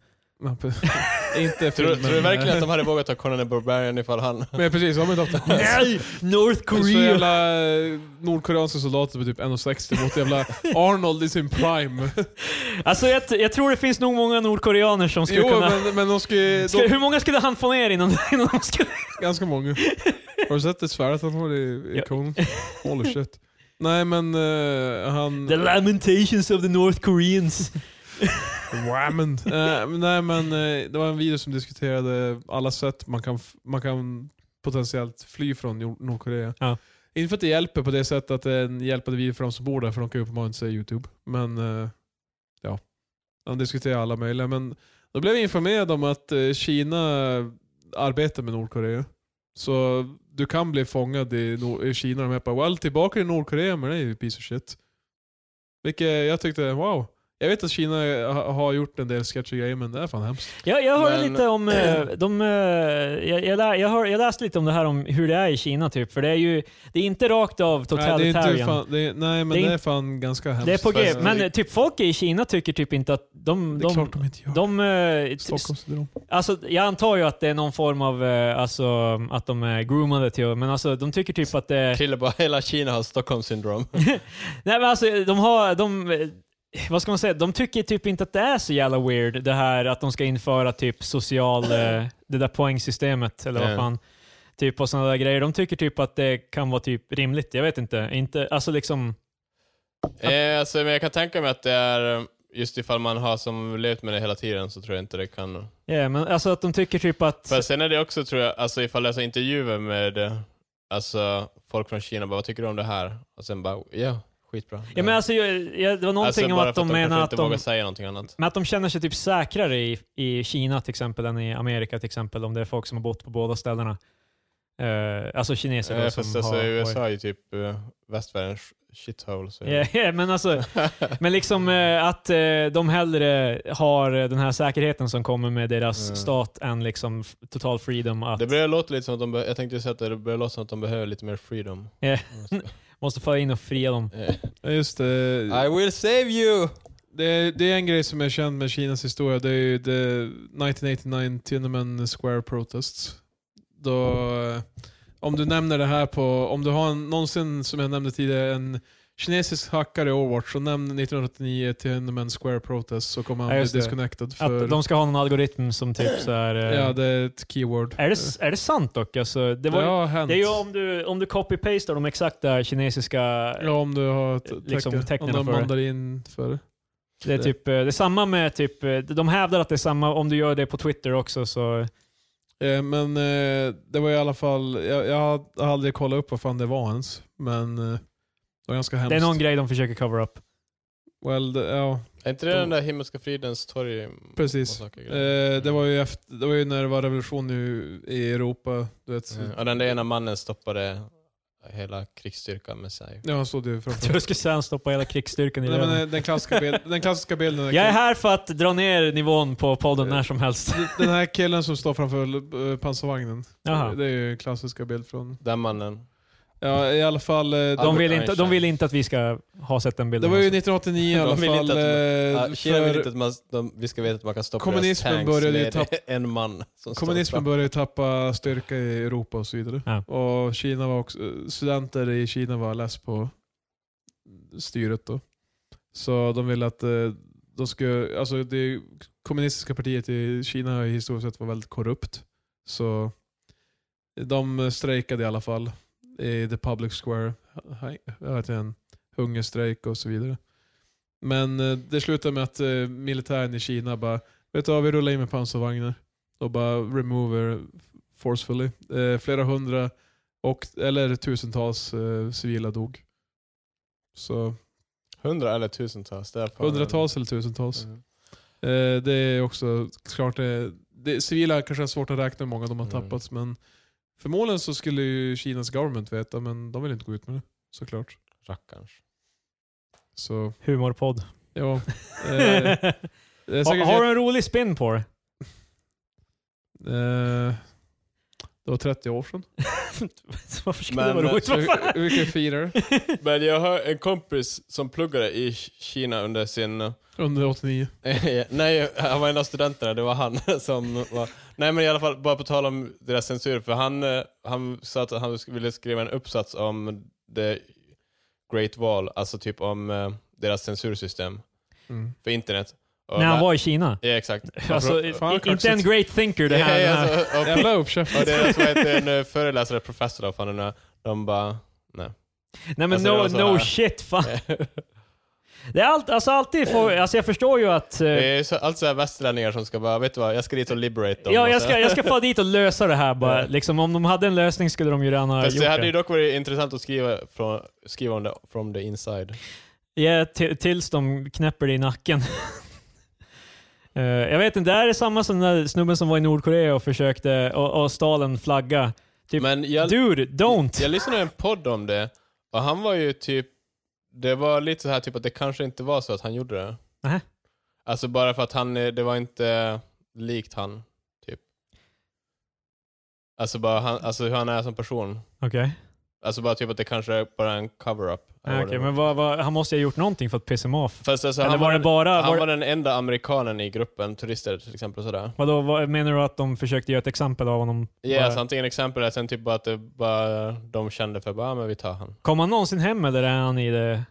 Speaker 4: inte
Speaker 3: Tror,
Speaker 4: filmen.
Speaker 3: tror du verkligen att de hade vågat ta Conan the Barbarian ifall han...
Speaker 4: Men precis, de har inte haft en chans.
Speaker 2: Nej! North
Speaker 4: Så
Speaker 2: Korea!
Speaker 4: jävla eh, nordkoreanska soldater med typ 1,60 mot jävla Arnold i sin prime.
Speaker 2: Alltså jag, jag tror det finns nog många nordkoreaner som skulle
Speaker 4: Jo,
Speaker 2: kunna...
Speaker 4: men, men de skulle...
Speaker 2: Ska,
Speaker 4: De,
Speaker 2: hur många skulle han få ner innan, innan de skulle...
Speaker 4: ganska många. Har du sett det svärdet han har i, i
Speaker 2: Ja.
Speaker 4: Conan? Holy shit. Nej men eh, han...
Speaker 2: The Lamentations of the North Koreans.
Speaker 4: Ramen. Eh, men nej men eh, det var en video som diskuterade alla sätt man kan, f- man kan potentiellt fly från Nor- Nordkorea.
Speaker 2: Ja.
Speaker 4: Inte för att det hjälper på det sättet att det är en hjälpande video för de som bor där, för de kan ju uppenbarligen inte se YouTube. Men eh, ja, de diskuterar alla möjliga. Men då blev jag informerad om att eh, Kina arbetar med Nordkorea. Så du kan bli fångad i, Nor- i Kina och de här bara well, tillbaka till Nordkorea men det är ju piece of shit. Vilket jag tyckte, wow. Jag vet att Kina ha- har gjort en del sketchy grejer men det är fan hemskt.
Speaker 2: Jag, jag hörde
Speaker 3: Men-
Speaker 2: lite om... eh, De, eh, jag, jag, lä, jag, hör, jag läste lite om det här om hur det är i Kina typ, för det är ju... Det är inte rakt av
Speaker 4: Nej, det är
Speaker 2: totalitarian.
Speaker 4: inte fan, det är, nej men
Speaker 2: Det är
Speaker 4: det är,
Speaker 2: inte-
Speaker 4: fan ganska hemskt. Alltså,
Speaker 2: Det är på G,
Speaker 3: Fast-
Speaker 2: men eh, typ folk i Kina tycker typ inte att de...
Speaker 4: Det är
Speaker 2: de
Speaker 4: klart de inte gör.
Speaker 2: de, eh, t-
Speaker 4: Stockholmssyndrom.
Speaker 2: alltså, jag antar ju att det är någon form av, eh, alltså att de är groomade till, men alltså de tycker typ att det är...
Speaker 3: Kille bara, hela Kina har Stockholmssyndrom.
Speaker 2: Nej men alltså de har, de, eh, vad ska man säga, de tycker typ inte att det är så jävla weird det här att de ska införa typ social, eh, det där poängsystemet eller vad
Speaker 3: Ja.
Speaker 2: fan. Typ och sådana där grejer. De tycker typ att det kan vara typ rimligt, jag vet inte. inte alltså liksom,
Speaker 3: Eh, alltså, men jag kan tänka mig att det är, eh, just ifall man har som levt med det hela tiden så tror jag inte det kan...
Speaker 2: yeah, men alltså att de tycker typ att...
Speaker 3: För sen är det också tror jag, alltså ifall jag så intervjuer med eh, alltså, folk från Kina, bara, vad tycker du om det här? Och sen bara, ja, skitbra.
Speaker 2: Ja, men alltså, jag, jag, det var någonting om
Speaker 3: bara
Speaker 2: att
Speaker 3: för
Speaker 2: de
Speaker 3: kanske
Speaker 2: menar att
Speaker 3: inte
Speaker 2: de,
Speaker 3: vågar säga någonting annat.
Speaker 2: men att de känner sig typ säkrare i, i Kina till exempel än i Amerika till exempel, om det är folk som har bott på båda ställena. Eh, alltså kineser då,
Speaker 3: Eh,
Speaker 2: som
Speaker 3: fast alltså,
Speaker 2: har varit-
Speaker 3: USA är ju typ eh, västvärldens shithole. Så
Speaker 2: Ja, ja, men alltså, men liksom eh, att eh, de hellre har eh, den här säkerheten som kommer med deras
Speaker 3: Mm.
Speaker 2: stat än liksom f- total freedom att
Speaker 3: Det börjar låta lite som att de, be- jag tänkte ju säga att det börjar låta som att de behöver lite mer freedom.
Speaker 2: Ja. måste föra in och fria dem.
Speaker 3: Eh,
Speaker 4: Ja, just det.
Speaker 3: I will save you!
Speaker 4: Det är, det är en grej som är känd med Kinas historia. Det är ju the 1989 Tiananmen Square Protests. Då, eh, om du nämner det här på, om du har en, någonsin, som jag nämnde tidigare, en kinesisk hackare i Overwatch, så nämn 1989 Tiananmen Square Protests så kommer han
Speaker 2: Ja,
Speaker 4: bli
Speaker 2: just det.
Speaker 4: disconnected. För,
Speaker 2: Att de ska ha någon algoritm som typ så här, eh,
Speaker 4: ja, det är ett keyword. Eh,
Speaker 2: är, det, s- är det sant dock? Alltså, det
Speaker 4: det,
Speaker 2: var ju
Speaker 4: har hänt.
Speaker 2: Det är ju om du, om du copy-pastar de exakta kinesiska...
Speaker 4: Ja, om du har ett
Speaker 2: liksom
Speaker 4: tecken.
Speaker 2: tecknen
Speaker 4: om du har
Speaker 2: för det.
Speaker 4: mandarin för det.
Speaker 2: Det är typ, eh, det är samma med typ... eh, De hävdar att det är samma om du gör det på Twitter också så...
Speaker 4: Eh, Men eh, det var i alla fall, jag, jag har aldrig kollat upp vad fan det var ens. Men eh, det var ganska hemskt.
Speaker 2: Det är någon grej de försöker cover up.
Speaker 4: well, det, ja,
Speaker 3: Är inte det den där Himmelska fridens torg?
Speaker 4: precis. Eh, det, var ju efter, det var ju när det var revolution nu i Europa. Du vet.
Speaker 3: Mm. Och den där ena mannen stoppade hela krigsstyrkan med sig.
Speaker 4: Ja, han stod ju
Speaker 2: Jag
Speaker 4: framför.
Speaker 2: tror jag skulle säga stoppa hela krigsstyrkan i
Speaker 4: Nej, men,
Speaker 2: röven.
Speaker 4: eh, den, klassiska bild, den klassiska bilden.
Speaker 2: Jag är här för att dra ner nivån på podden när som helst.
Speaker 4: Den här killen som står framför eh, pansarvagnen.
Speaker 2: Jaha.
Speaker 4: Det är ju en klassiska bild från...
Speaker 3: Den mannen.
Speaker 4: Ja, i alla fall. eh,
Speaker 2: De
Speaker 4: Det,
Speaker 2: vill, inte, de vill inte att vi ska ha sett den
Speaker 4: det
Speaker 2: bilden.
Speaker 4: var ju 1989 i
Speaker 3: alltså. De
Speaker 4: alla
Speaker 3: vill
Speaker 4: fall.
Speaker 3: inte att-
Speaker 4: eh,
Speaker 3: Ah, Kina vill
Speaker 4: för-
Speaker 3: inte att man, de, vi ska veta att man kan stoppa
Speaker 4: Kommunismen
Speaker 3: deras tanks
Speaker 4: började ju
Speaker 3: med
Speaker 4: tapp-
Speaker 3: en man. Som står
Speaker 4: Kommunismen
Speaker 3: fram.
Speaker 4: började tappa styrka i Europa och så vidare.
Speaker 2: Ja.
Speaker 4: Och Kina var också, studenter i Kina var less på styret då. Så de ville att eh, de skulle, alltså det kommunistiska partiet i Kina har ju historiskt sett var väldigt korrupt. Så de strejkade i alla fall i the public square. Hej, vad heter det? En hungerstrejk och så vidare. Men eh, det slutade med att eh, militären i Kina bara, vet du vad, vi rullar in med pansarvagnar och bara remover forcefully. Eh, flera hundra och, eller tusentals eh, civila dog. Så
Speaker 3: Hundra eller tusentals. Det är fan-
Speaker 4: hundratals eller tusentals.
Speaker 3: Mm.
Speaker 4: Eh, det är också klart, eh, det, civila kanske är svårt att räkna hur många de har
Speaker 3: Mm.
Speaker 4: tappats men förmodligen så skulle ju Kinas government veta men de vill inte gå ut med det såklart.
Speaker 3: Rackarns.
Speaker 4: Så
Speaker 2: Humorpodd.
Speaker 4: ja. Eh, det är
Speaker 2: Har,
Speaker 4: säkert
Speaker 2: har du en rolig spin på det?
Speaker 4: Eh, Det var 30 år sedan.
Speaker 2: Så Varför skulle det
Speaker 3: Men,
Speaker 2: vara roligt?
Speaker 4: Så
Speaker 2: Vad fan?
Speaker 4: vi vi kan fira det.
Speaker 3: Men jag har en kompis som pluggade i Kina under sin... eh,
Speaker 4: Under 89.
Speaker 3: Nej, han var en av studenterna, det var han som var... Nej men i alla fall, bara på tal om deras censur, för han, eh, han sa att han sk- ville skriva en uppsats om the Great Wall, alltså typ om eh, deras censursystem
Speaker 4: Mm.
Speaker 3: för internet. Och
Speaker 2: När han
Speaker 3: där-
Speaker 2: var i Kina.
Speaker 3: Ja, exakt.
Speaker 2: Alltså,
Speaker 3: Och-
Speaker 4: fan,
Speaker 2: i- inte
Speaker 4: kaxigt.
Speaker 2: en great thinker det
Speaker 3: Ja,
Speaker 2: här. den här.
Speaker 3: alltså, och-
Speaker 4: Jävla uppkäft.
Speaker 3: Och det är som heter en eh, föreläsare, professor, vad fan den är. De
Speaker 2: Eh.
Speaker 3: bara...
Speaker 2: Nej men
Speaker 3: Alltså, det var så
Speaker 2: no, no
Speaker 3: här.
Speaker 2: shit fan. Det är allt, alltså alltid får, alltså jag förstår ju att... eh,
Speaker 3: Det är så, allt så här västerlänningar som ska bara, vet du vad, jag ska dit och liberate dem.
Speaker 2: ja,
Speaker 3: Och
Speaker 2: jag
Speaker 3: så-
Speaker 2: ska, jag ska få dit och lösa det här bara.
Speaker 3: alltså. Ja.
Speaker 2: Liksom, om de hade en lösning skulle de ju redan ha
Speaker 3: Fast
Speaker 2: gjort
Speaker 3: det hade ju
Speaker 2: det.
Speaker 3: dock varit intressant att skriva, från, skriva om det from the inside.
Speaker 2: Ja, ti- tills de knäpper det i nacken. Eh, jag vet inte, det här är samma som den där snubben som var i Nordkorea och försökte, och, och stal en flagga. Typ,
Speaker 3: Men jag,
Speaker 2: Dude, don't!
Speaker 3: jag lyssnade på en podd om det, och han var ju typ, det var lite så här typ att det kanske inte var så att han gjorde det.
Speaker 2: Nähä.
Speaker 3: Alltså bara för att han, eh, det var inte likt han, typ. Alltså bara han, alltså hur han är som person.
Speaker 2: Okej,
Speaker 3: Alltså bara typ att det kanske är bara en cover-up.
Speaker 2: okay. men vad, vad, han måste ju ha gjort någonting för att piss him off.
Speaker 3: Fast alltså,
Speaker 2: Eller
Speaker 3: han,
Speaker 2: var det
Speaker 3: var,
Speaker 2: bara...
Speaker 3: han
Speaker 2: Var,
Speaker 3: var den enda amerikanen i gruppen, turister till exempel. och Sådär.
Speaker 2: vadå, vad, menar du att de försökte göra ett exempel av honom?
Speaker 3: Ja,
Speaker 2: Bara-
Speaker 3: alltså antingen exempel eller sen typ bara att det bara, de kände för bara, ah, men vi tar han.
Speaker 2: Kom han någonsin hem eller är han i det...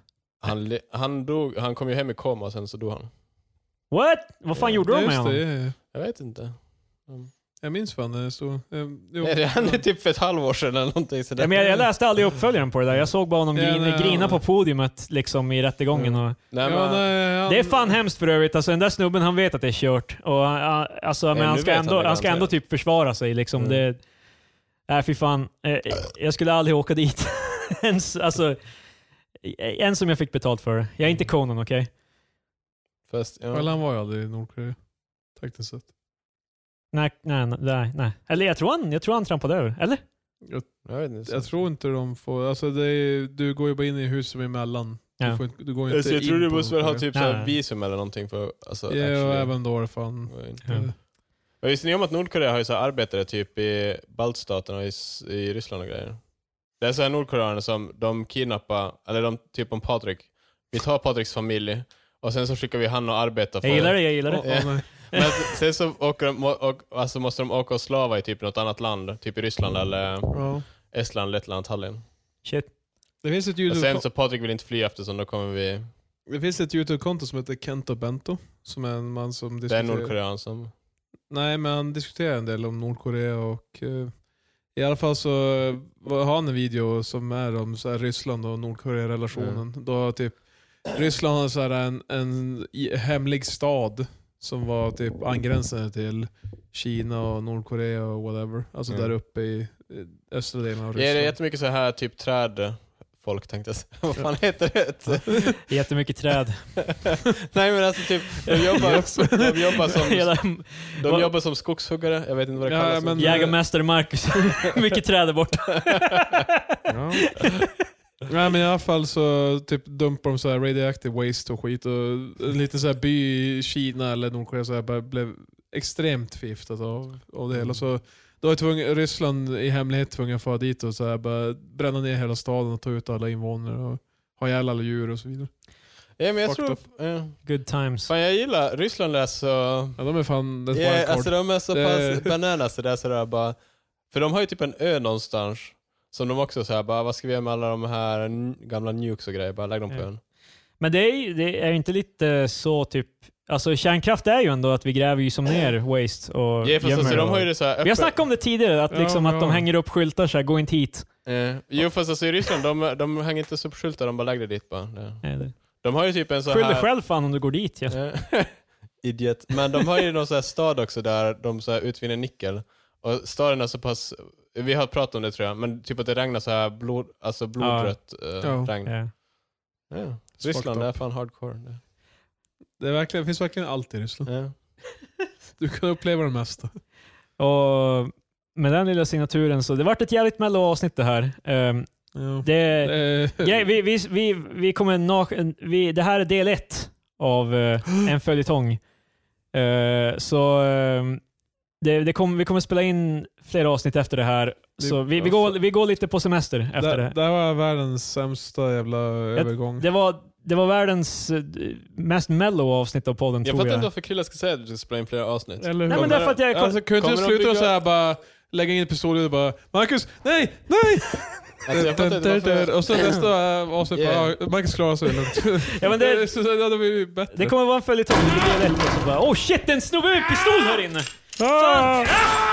Speaker 3: Han, li- han, dog, han kom ju hem i koma och sen så dog han.
Speaker 2: What? Vad fan
Speaker 3: Ja,
Speaker 2: gjorde de med
Speaker 4: Just det,
Speaker 2: honom?
Speaker 4: ja, ja.
Speaker 3: Jag vet inte.
Speaker 4: Jag minns fan när det stod... ehm, jo.
Speaker 3: Nej, det hände typ för ett halvår sedan eller någonting sådär.
Speaker 2: Ja, men jag, jag läste aldrig uppföljaren på det där. Jag såg bara honom
Speaker 4: Ja,
Speaker 2: grina,
Speaker 4: nej,
Speaker 2: grina
Speaker 4: ja.
Speaker 2: på podiumet liksom, i rättegången. Och,
Speaker 3: Nej, men,
Speaker 4: Ja, nej, han-
Speaker 2: det är fan hemskt för övrigt. Alltså, den där snubben han vet att det är kört. Och, han- han- alltså, men
Speaker 3: nu
Speaker 2: han ska,
Speaker 3: vet
Speaker 2: ändå,
Speaker 3: han
Speaker 2: han
Speaker 3: det
Speaker 2: ska ändå
Speaker 3: garanterat.
Speaker 2: typ försvara sig. Liksom.
Speaker 3: Mm.
Speaker 2: Det, nej, fy fan. Eh, Jag skulle aldrig åka dit. ens, alltså, ens som jag fick betalt för det. Jag är
Speaker 3: Mm.
Speaker 2: inte Conan, okej?
Speaker 3: Fast, ja.
Speaker 4: Eller han var ju aldrig i Nordkorea. Tekniskt sett.
Speaker 2: Nej, nej, nej, nej. Eller jag tror, han, jag tror han trampade över. Eller?
Speaker 3: jag vet inte.
Speaker 4: Jag tror inte de får... Alltså det är, du går ju bara in i hus som är emellan.
Speaker 2: Ja.
Speaker 4: Du, får, inte- du går inte
Speaker 3: Alltså, jag
Speaker 4: in
Speaker 3: tror du
Speaker 4: på
Speaker 3: måste väl ha
Speaker 4: Nordkorea.
Speaker 3: typ såhär
Speaker 2: Nej.
Speaker 3: visum eller någonting för alltså,
Speaker 4: Ja, och
Speaker 3: actually-
Speaker 4: även då är det fan... Eh,
Speaker 2: Ja.
Speaker 3: Men Visste ni om att Nordkorea har ju så här arbetare typ i baltstaterna och i, s- i Ryssland och grejer? Det är så här nordkoreaner som de kidnappar, eller de, typ om Patrik. Vi tar Patriks familj och sen så skickar vi han och arbeta för
Speaker 2: Jag gillar det, jag gillar det.
Speaker 4: Åh, åh, nej.
Speaker 3: Men sen så åker de, och, alltså måste de åka och slava i typ något annat land, typ i Ryssland eller
Speaker 4: Ja.
Speaker 3: Estland, Lettland, Tallinn.
Speaker 2: Shit.
Speaker 4: Det finns ett
Speaker 3: Och sen
Speaker 4: YouTube...
Speaker 3: så Patrik vill inte fly eftersom då kommer vi...
Speaker 4: Det finns ett YouTube-konto som heter Kento Bento, som är en man som
Speaker 3: Det är
Speaker 4: diskuterar...
Speaker 3: en nordkorean som...
Speaker 4: Nej, men han diskuterar en del om Nordkorea och eh, i alla fall så var- har han en video som är om så här, Ryssland och Nordkorea-relationen.
Speaker 3: Mm.
Speaker 4: Då typ Ryssland har så här, en, en i- hemlig stad som var typ angränsande till Kina och Nordkorea och whatever. Alltså
Speaker 3: Mm.
Speaker 4: där uppe i eh, östra delen av
Speaker 3: Ja, det är
Speaker 4: Ryssland.
Speaker 3: jättemycket så här typ träd... Folk tänkte jag säga. Vad fan heter det?
Speaker 2: Jättemycket träd.
Speaker 3: Nej men alltså typ, de jobbar, de jobbar, som,
Speaker 2: Hela
Speaker 3: de jobbar som skogshuggare, jag vet inte vad det
Speaker 4: Ja,
Speaker 3: kallas.
Speaker 4: men-
Speaker 2: eh, jägarmästare Marcus. Mycket träd där borta.
Speaker 4: Ja. Nej men i alla fall så typ dumpar de så här radioactive waste och skit och en liten så här by i Kina eller Nordkorea så här bara blev extremt förgiftat av, av det
Speaker 2: Mm.
Speaker 4: hela. Så då var tvungen, Ryssland i hemlighet tvungen att fara dit och så här bara bränna ner hela staden och ta ut alla invånare och ha ihjäl alla djur och så vidare.
Speaker 3: ja, men jag
Speaker 4: Fucked
Speaker 3: tror... Ja.
Speaker 2: Good times.
Speaker 3: Fan jag gillar, Ryssland är så...
Speaker 4: Ja de är fan ett
Speaker 3: Ja,
Speaker 4: wildcard.
Speaker 3: alltså de är så
Speaker 4: Det-
Speaker 3: pass bananas sådär, sådär bara. För de har ju typ en ö någonstans. Som de också såhär bara, vad ska vi göra med alla de här n- gamla nukes och grejer? Bara lägg dem på
Speaker 2: Ja.
Speaker 3: ön.
Speaker 2: Men det är, ju- det är inte lite så typ... Alltså kärnkraft är ju ändå att vi gräver ju som ner waste och
Speaker 3: Ja, fast alltså,
Speaker 2: gömmer
Speaker 3: de
Speaker 2: och-
Speaker 3: har ju det såhär
Speaker 2: Vi har snackat om det tidigare, att,
Speaker 4: Ja,
Speaker 2: liksom, att de
Speaker 4: ja.
Speaker 2: hänger upp skyltar såhär, gå inte hit.
Speaker 3: Eh, jo fast alltså i Ryssland, de, de hänger inte så upp skyltar, de bara lägger det dit bara. Ja.
Speaker 2: Nej, det-
Speaker 3: De har ju typ en sån
Speaker 2: Skyll dig
Speaker 3: här...
Speaker 2: själv fan om du går dit. Ja.
Speaker 3: Eh, Idiot. Men de har ju någon sån här stad också där de så här utvinner nickel. Och staden är så pass... Vi har pratat om det tror jag, men typ att det regnar så här blod, alltså blodrött eh,
Speaker 4: Ja.
Speaker 3: regn.
Speaker 2: Ja.
Speaker 3: Ja. Ryssland
Speaker 4: Fucked
Speaker 3: det är
Speaker 4: up.
Speaker 3: fan hardcore. Det.
Speaker 4: Det, är verkligen, det finns verkligen allt i Ryssland.
Speaker 3: Ja.
Speaker 4: Du kan uppleva det mesta.
Speaker 2: Och med den lilla signaturen så, det vart ett jävligt mello avsnitt det här. Ehm,
Speaker 4: Ja.
Speaker 2: det,
Speaker 4: Eh,
Speaker 2: Ja, vi, vi, vi, vi kommer nak- vi, det här är del ett av eh, en följetong. Eh, så eh, det, det kom, vi kommer spela in flera avsnitt efter det här. Så vi, vi, går,
Speaker 3: alltså-
Speaker 2: vi går lite på semester efter det.
Speaker 4: det, det här var världens sämsta jävla övergång.
Speaker 2: Det var, det var världens eh, mest mellow avsnitt av podden
Speaker 3: Jag
Speaker 2: tror
Speaker 3: fattar
Speaker 2: jag.
Speaker 3: inte varför Krilla ska säga att du spelar in flera avsnitt.
Speaker 4: Eller hur?
Speaker 2: Nej men därför att jag...
Speaker 4: alltså, kunde
Speaker 3: kommer
Speaker 4: du
Speaker 3: de
Speaker 4: sluta
Speaker 3: bygga-
Speaker 4: så här bara lägga in pistolen och bara Marcus, nej, nej!
Speaker 3: Alltså, jag fattar inte
Speaker 4: Mm,
Speaker 3: varför...
Speaker 4: Och så nästa avsnitt
Speaker 3: Yeah.
Speaker 4: bara, Marcus klarar sig lugnt.
Speaker 2: Ja, men det-
Speaker 4: så, så, det hade blivit bättre.
Speaker 2: Det kommer vara en följetong. Det blir lätt och så bara Oh shit, en snubbe med pistol här inne! Fan! Ah!